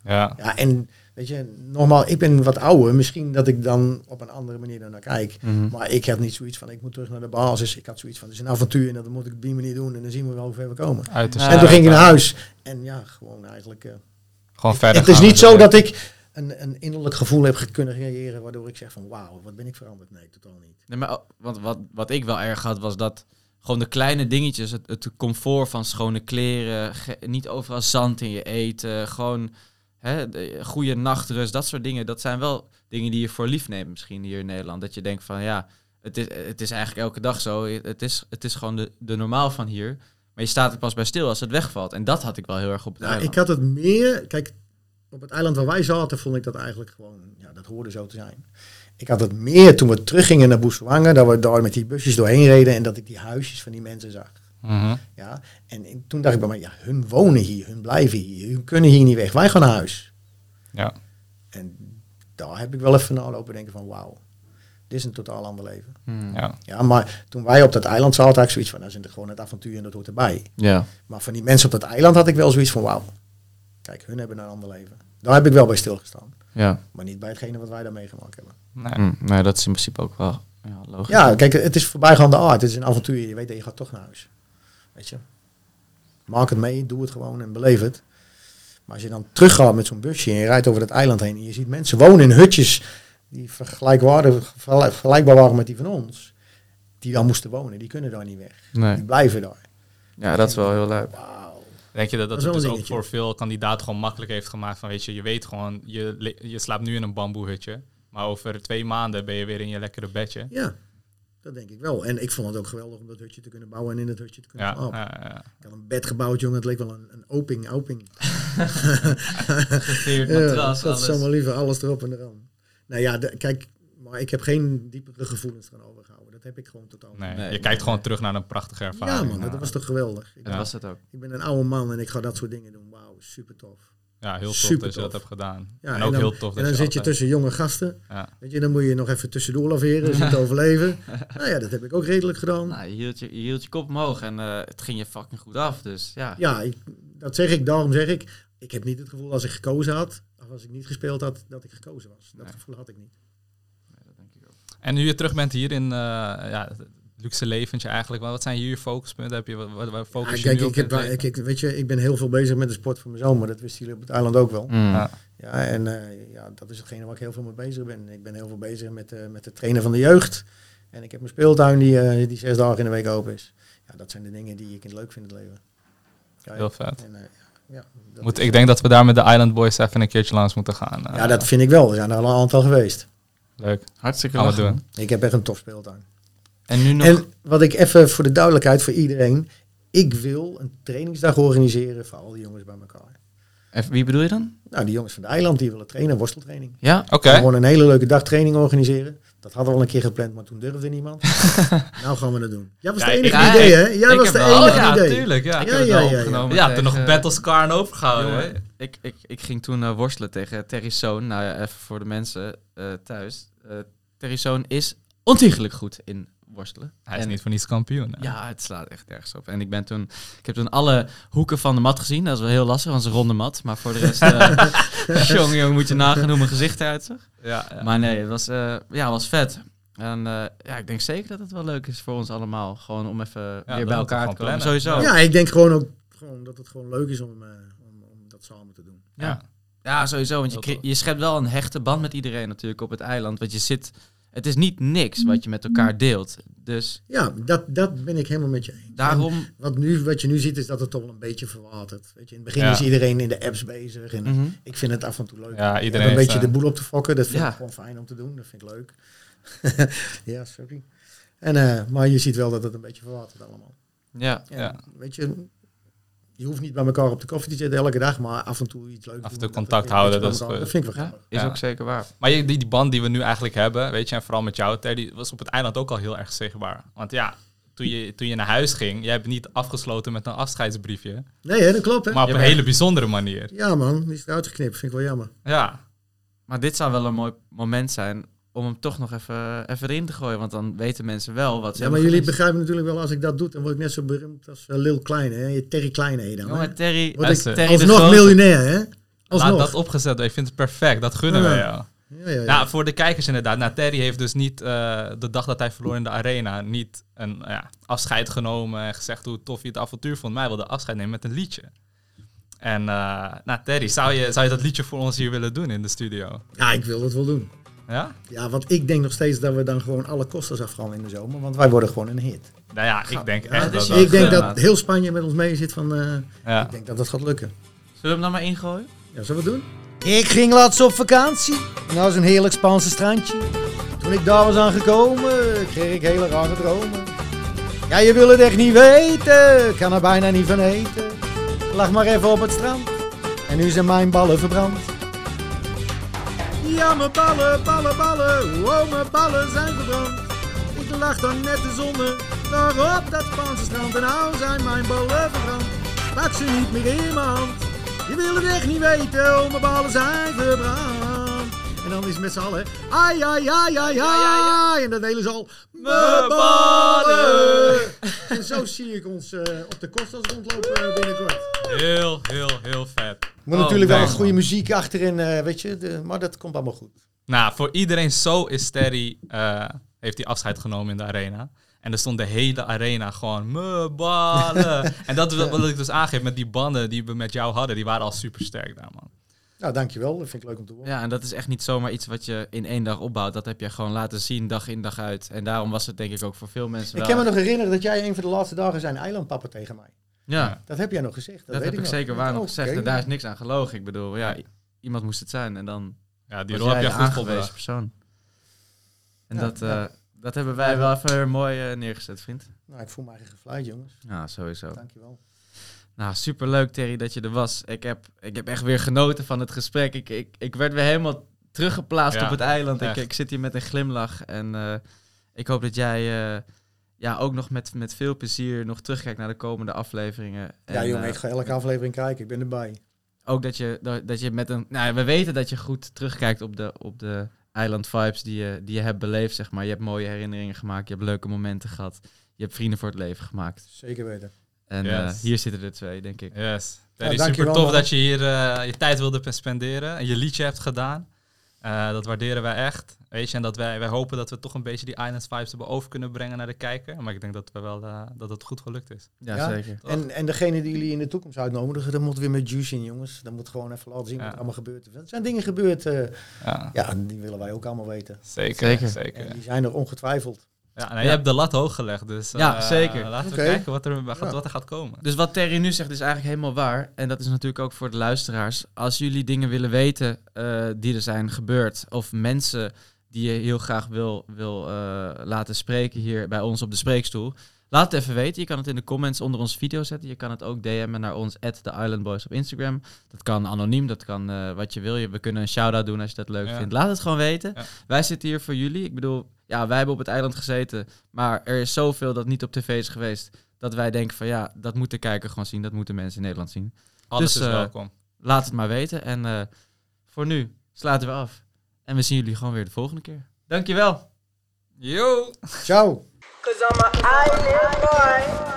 Ja.
Ja, en weet je, nogmaals, ik ben wat ouder. Misschien dat ik dan op een andere manier daarnaar kijk.
Mhm.
Maar ik had niet zoiets van, ik moet terug naar de basis. Ik had zoiets van, het is een avontuur en dat moet ik op die manier doen. En dan zien we wel hoe ver we komen.
Uiterst.
Ja.
en toen ging ik naar huis. En ja, gewoon eigenlijk... eh,
Gewoon verder
het is
gaan
niet
met
zo
het
dat ik een, een innerlijk gevoel heb ge- kunnen creëren waardoor ik zeg van wauw, wat ben ik veranderd? Nee, totaal niet.
Nee, maar, oh, want wat, wat ik wel erg had was dat. Gewoon de kleine dingetjes. Het, het comfort van schone kleren. ge- niet overal zand in je eten. Gewoon hè, de- goede nachtrust. Dat soort dingen. Dat zijn wel dingen die je voor lief neemt misschien hier in Nederland. Dat je denkt van ja. Het is, het is eigenlijk elke dag zo. Het is, het is gewoon de, de normaal van hier. Maar je staat er pas bij stil als het wegvalt. En dat had ik wel heel erg op het
Nou,
eiland.
ik had het meer, kijk, op het eiland waar wij zaten vond ik dat eigenlijk gewoon, ja, dat hoorde zo te zijn. Ik had het meer toen we teruggingen naar Boeswangen, dat we daar met die busjes doorheen reden en dat ik die huisjes van die mensen zag.
Mhm.
Ja, en ik- toen dacht ik bij mij, ja, hun wonen hier, hun blijven hier, hun kunnen hier niet weg, wij gaan naar huis.
Ja.
En daar heb ik wel even naar lopen denken van wauw, dit is een totaal ander leven.
Ja.
Ja, maar toen wij op dat eiland zaten, had ik zoiets van, dat is het gewoon het avontuur en dat hoort erbij.
Ja.
Maar van die mensen op dat eiland had ik wel zoiets van, wauw, kijk, hun hebben een ander leven. Daar heb ik wel bij stilgestaan,
Ja,
maar niet bij hetgene wat wij daar meegemaakt hebben.
Nee.
mm, nou, dat is in principe ook wel ja, logisch.
Ja, kijk, het is voorbijgaande art, het is een avontuur, je weet dat je gaat toch naar huis. Weet je, maak het mee, doe het gewoon en beleef het. Maar als je dan teruggaat met zo'n busje en je rijdt over dat eiland heen en je ziet mensen wonen in hutjes die vergelijkwaardig- vergelijkbaar waren met die van ons, die dan moesten wonen, die kunnen daar niet weg.
Nee.
Die blijven daar.
ja, dat is wel heel leuk.
Wauw.
Denk je dat dat,
Dat is wel
het dus
een
ook
dingetje.
voor veel kandidaten gewoon makkelijk heeft gemaakt van, weet je, je weet gewoon, je, le- je slaapt nu in een bamboehutje, maar over twee maanden ben je weer in je lekkere bedje.
Ja, dat denk ik wel. En ik vond het ook geweldig om dat hutje te kunnen bouwen en in dat hutje te kunnen
Ja,
slapen.
ja, ja, ja.
Ik had een bed gebouwd, jongen. Het leek wel een, een oping, oping.
Geveerd
Ja, dat is allemaal liever alles erop en eraan. Nou ja, de- kijk, maar ik heb geen diepere gevoelens eraan overgehouden. Dat heb ik gewoon totaal niet.
Nee,
Nee,
je
nee,
kijkt gewoon terug naar een prachtige
Ja
ervaring.
man, dat was toch geweldig. Ik,
Dat was het ook.
ik ben een oude man en ik ga dat soort dingen doen. Wauw, super tof.
Ja, heel tof
Super
dat je dat
tof.
hebt gedaan.
Ja,
en ook
dan,
heel tof
En
dat
dan zit je
altijd-
tussen jonge gasten.
Ja.
Weet je, dan moet je nog even tussendoor laveren, dus je te overleven. Nou ja, dat heb ik ook redelijk gedaan.
Nou, je hield je, je hield je kop omhoog en eh, het ging je fucking goed af. Dus ja.
Ja, ik, dat zeg ik. Daarom zeg ik, ik heb niet het gevoel als ik gekozen had, of als ik niet gespeeld had, dat ik gekozen was. Dat
Nee.
gevoel had ik niet.
En nu je terug bent hier in eh ja, het luxe leventje eigenlijk, wat wat zijn hier je focuspunten? Heb je, wat- wat- waar
Ah,
focus je
kijk,
nu op
ik,
in
heb,
het leven?
ik, ik- weet je, ik ben heel veel bezig met de sport van mijn zoon, maar dat wisten jullie op het eiland ook wel.
Mm.
Ja.
Ja, en eh, ja, dat is hetgene waar ik heel veel mee bezig ben. Ik ben heel veel bezig met, eh, met het trainen van de jeugd. En ik heb mijn speeltuin die, eh, die zes dagen in de week open is. Ja, dat zijn de dingen die ik leuk vind in het leven. Ja,
Heel vet.
en, eh, ja, dat
Moet,
is-
ik denk dat we daar met de Island Boys even een keertje langs moeten gaan. Eh,
ja, dat vind ik wel. Er zijn er al een aantal geweest.
Leuk.
Hartstikke
Gaan we
leuk.
doen.
Ik heb echt een tof speeltuin.
En nu nog...
En wat ik even voor de duidelijkheid voor iedereen. Ik wil een trainingsdag organiseren voor al die jongens bij elkaar.
Even- Wie bedoel je dan?
Nou, die jongens van de eiland die willen trainen, worsteltraining.
Ja?
Oké.
Gewoon een hele leuke dag training organiseren. Dat hadden we al een keer gepland, maar toen durfde niemand. nou gaan we dat doen. Jij was
Ja,
de enige
ik-
idee,
ik-
hè? Jij
ik
was de
heb wel-
enige
Oh, ja,
idee.
tuurlijk. Ja,
Ik heb het wel opgenomen
Ja, toen
eh,
nog Battles Karn overgehouden. hè?
Jongen, Oh, ik, ik, ik ging toen eh, worstelen tegen Terry's zoon. Nou ja, even voor de mensen eh, thuis. Eh Terry's zoon is ontiegelijk goed in worstelen.
Hij is
En-
niet voor niets kampioen. hè?
Ja, het slaat echt ergens op. En ik ben toen, ik heb toen alle hoeken van de mat gezien. Dat is wel heel lastig, want het is een ronde mat. Maar voor de rest, eh jong, jong, moet je nagaan hoe mijn gezicht eruit zag.
Ja, ja.
Maar nee, het was, eh, ja, het was vet. En eh, ja, ik denk zeker dat het wel leuk is voor ons allemaal. Gewoon om even weer
dat
bij
moeten we
elkaar te
gewoon
komen.
plannen.
Sowieso. Ja.
Ja, ik denk gewoon ook gewoon dat het gewoon leuk is om, eh, om, om dat samen te doen.
Ja.
sowieso. Want je,
Heel
cre-
tof.
je schept wel een hechte band met iedereen natuurlijk op het eiland. Want je zit, het is niet niks wat je met elkaar deelt. Dus
Ja, dat, dat ben ik helemaal met je eens.
daarom...
En Wat, nu, wat je nu ziet is dat het toch wel een beetje verwatert. Weet je, in het begin
Ja. Mm.
is iedereen in de apps bezig. En
Mhm.
ik vind het af en toe leuk.
Ja,
Ik heb
iedereen
een
heeft,
beetje de
eh,
boel op te fokken. Dat vind
Ja.
ik gewoon fijn om te doen. Dat vind ik leuk. ja, sorry. En, eh, maar je ziet wel dat het een beetje verwatert allemaal.
Ja,
En,
Ja.
Weet je, je hoeft niet bij elkaar op de koffie te zitten elke dag, maar af en toe iets leuks
Af en toe
doen, dat het
contact
een beetje
houden,
bij
dat is
elkaar-
goed.
Dat vind ik wel
ja
grappig.
is
Ja.
ook zeker waar.
Maar je- die, die band die we nu eigenlijk hebben, weet je, en vooral met jou, Ter, die was op het eiland ook al heel erg zichtbaar. Want ja, toen je, toen je naar huis ging, jij hebt niet afgesloten met een afscheidsbriefje,
Nee, hè, dat klopt hè.
maar op
Ja,
een
maar-
hele bijzondere manier.
Ja man, die is eruit geknipt. Vind ik wel jammer.
Ja,
Maar dit zou wel een mooi moment zijn om hem toch nog even, even erin te gooien. Want dan weten mensen wel wat ze
Ja, maar
hebben
jullie
gemist.
begrijpen natuurlijk wel, als ik dat doe, dan word ik net zo beroemd als eh, Lil Kleine, hè? Je Terry Kleine heet dan. hè?
Jongen, Terry,
Word
als
ik-
Terry de
Alsnog
Grote-
miljonair, hè?
laat
Alsnog.
dat opgezet worden. Ik vind het perfect, dat gunnen
Ja.
we jou.
Ja, ja, ja.
Nou, voor de kijkers inderdaad. Nou, Terry heeft dus niet eh, de dag dat hij verloor in de arena niet een ja, afscheid genomen en gezegd hoe tof hij het avontuur vond. Maar hij wilde afscheid nemen met een liedje. En eh, nou, Terry, zou je, zou je dat liedje voor ons hier willen doen in de studio?
ja, ik wil dat wel doen.
Ja?
Ja, want ik denk nog steeds dat we dan gewoon alle kosten afgaan in de zomer. Want wij worden gewoon een hit.
Nou ja, ik denk
Ja,
echt
dus
dat
je-
dat-
ik denk
ja.
dat heel Spanje met ons mee zit van... eh,
ja.
Ik denk dat dat gaat lukken.
Zullen we hem dan maar ingooien?
Ja, zullen we het doen? Ik ging laatst op vakantie. En dat was een heerlijk Spaanse strandje. Toen ik daar was aangekomen, kreeg ik hele rare dromen. Ja, je wil het echt niet weten. Kan er bijna niet van eten. Lag maar even op het strand. En nu zijn mijn ballen verbrand. Ja, mijn ballen, ballen, ballen. Wow, mijn ballen zijn verbrand. Ik lag dan net de zonne. Daar op dat Spaanse strand. En nou zijn mijn ballen verbrand. Pak ze niet meer in mijn hand. Je wil het echt niet weten, oh, mijn ballen zijn verbrand. En dan is het met z'n allen, ai, ai, ai, ai, ai. En dan delen ze al, mijn ballen. En zo zie ik ons eh, op de kostas rondlopen eh, binnenkort.
Heel, heel, heel vet.
Moet
Oh,
natuurlijk wel
nice,
goede muziek achterin, eh, weet je. maar dat komt allemaal goed.
Nou, voor iedereen zo is Terry, eh, heeft hij afscheid genomen in de arena. En er stond de hele arena gewoon, me ballen. en dat is wat wat ik dus aangeef met die banden die we met jou hadden. Die waren al super sterk daar, man.
Nou, dankjewel. Dat vind ik leuk om te horen.
Ja, en dat is echt niet zomaar iets wat je in één dag opbouwt. Dat heb je gewoon laten zien, dag in dag uit. En daarom was het denk ik ook voor veel mensen
ik
wel...
kan me nog herinneren dat jij een van de laatste dagen zijn eilandpapa tegen mij.
Ja,
Dat heb jij nog gezegd. Dat,
dat
weet
heb ik
nog. Oh,
zeker waar nog
Oké. nou,
gezegd. En daar is niks aan gelogen. Ik bedoel, ja, i- iemand moest het zijn. En dan
Ja, die
was
rol heb
jij
je
de
goed
aangewezen
volbracht.
persoon. En
Ja,
dat, eh,
ja.
dat hebben wij wel even weer mooi eh, neergezet, vriend.
Nou, ik voel me eigen gevleid, jongens.
Ja, sowieso.
Dankjewel.
Nou, superleuk Terry dat je er was. Ik heb, ik heb echt weer genoten van het gesprek. Ik, ik, ik werd weer helemaal teruggeplaatst
Ja,
op het eiland. Ik,
echt.
ik zit hier met een glimlach. En eh, ik hoop dat jij eh, ja, ook nog met, met veel plezier nog terugkijkt naar de komende afleveringen. En,
ja, jongen,
eh,
ik ga elke aflevering kijken. Ik ben erbij.
ook dat je, dat, dat je met een... Nou, ja, we weten dat je goed terugkijkt op de, op de eiland vibes die je, die je hebt beleefd, zeg maar. Je hebt mooie herinneringen gemaakt. Je hebt leuke momenten gehad. Je hebt vrienden voor het leven gemaakt.
Zeker weten.
En eh,
Yes.
hier zitten er twee, denk ik.
Yes. Terry, super
dankjewel,
tof
man.
dat je hier eh, je tijd wilde spenderen. En je liedje hebt gedaan. Eh, dat waarderen wij echt. Weet je, en dat wij, wij hopen dat we toch een beetje die Islands vibes hebben over kunnen brengen naar de kijker. Maar ik denk dat, we wel, eh, dat het goed gelukt is.
Ja,
Ja.
zeker.
En, en degene die jullie in de toekomst uitnodigen, dat moet weer met juice in, jongens. Dat moet gewoon even laten zien
Ja.
wat er allemaal gebeurt. Er zijn dingen gebeurd, eh,
Ja,
ja, die willen wij ook allemaal weten.
zeker.
Zeker.
zeker.
En die zijn er ongetwijfeld.
Ja, nou, Je hebt de lat hoog gelegd, dus
Ja,
eh,
zeker.
laten
Oké.
we kijken wat er, wat,
Ja.
wat er gaat komen.
Dus wat Terry nu zegt is eigenlijk helemaal waar. En dat is natuurlijk ook voor de luisteraars. Als jullie dingen willen weten eh, die er zijn gebeurd. Of mensen die je heel graag wil, wil eh, laten spreken hier bij ons op de spreekstoel. Laat het even weten. Je kan het in de comments onder onze video zetten. Je kan het ook DM'en naar ons, at The Island Boys op Instagram. Dat kan anoniem, dat kan eh, wat je wil. Je- We kunnen een shout-out doen als je dat leuk
Ja.
vindt. Laat het gewoon weten.
Ja.
Wij zitten hier voor jullie. Ik bedoel, ja, wij hebben op het eiland gezeten. Maar er is zoveel dat niet op tv is geweest dat wij denken van ja, dat moet de kijker gewoon zien, dat moeten mensen in Nederland zien.
Alles
dus,
is
eh,
welkom.
Laat het maar weten en eh, voor nu sluiten we af. En we zien jullie gewoon weer de volgende keer. Dankjewel!
Yo!
Ciao.
Cause I'm an island boy.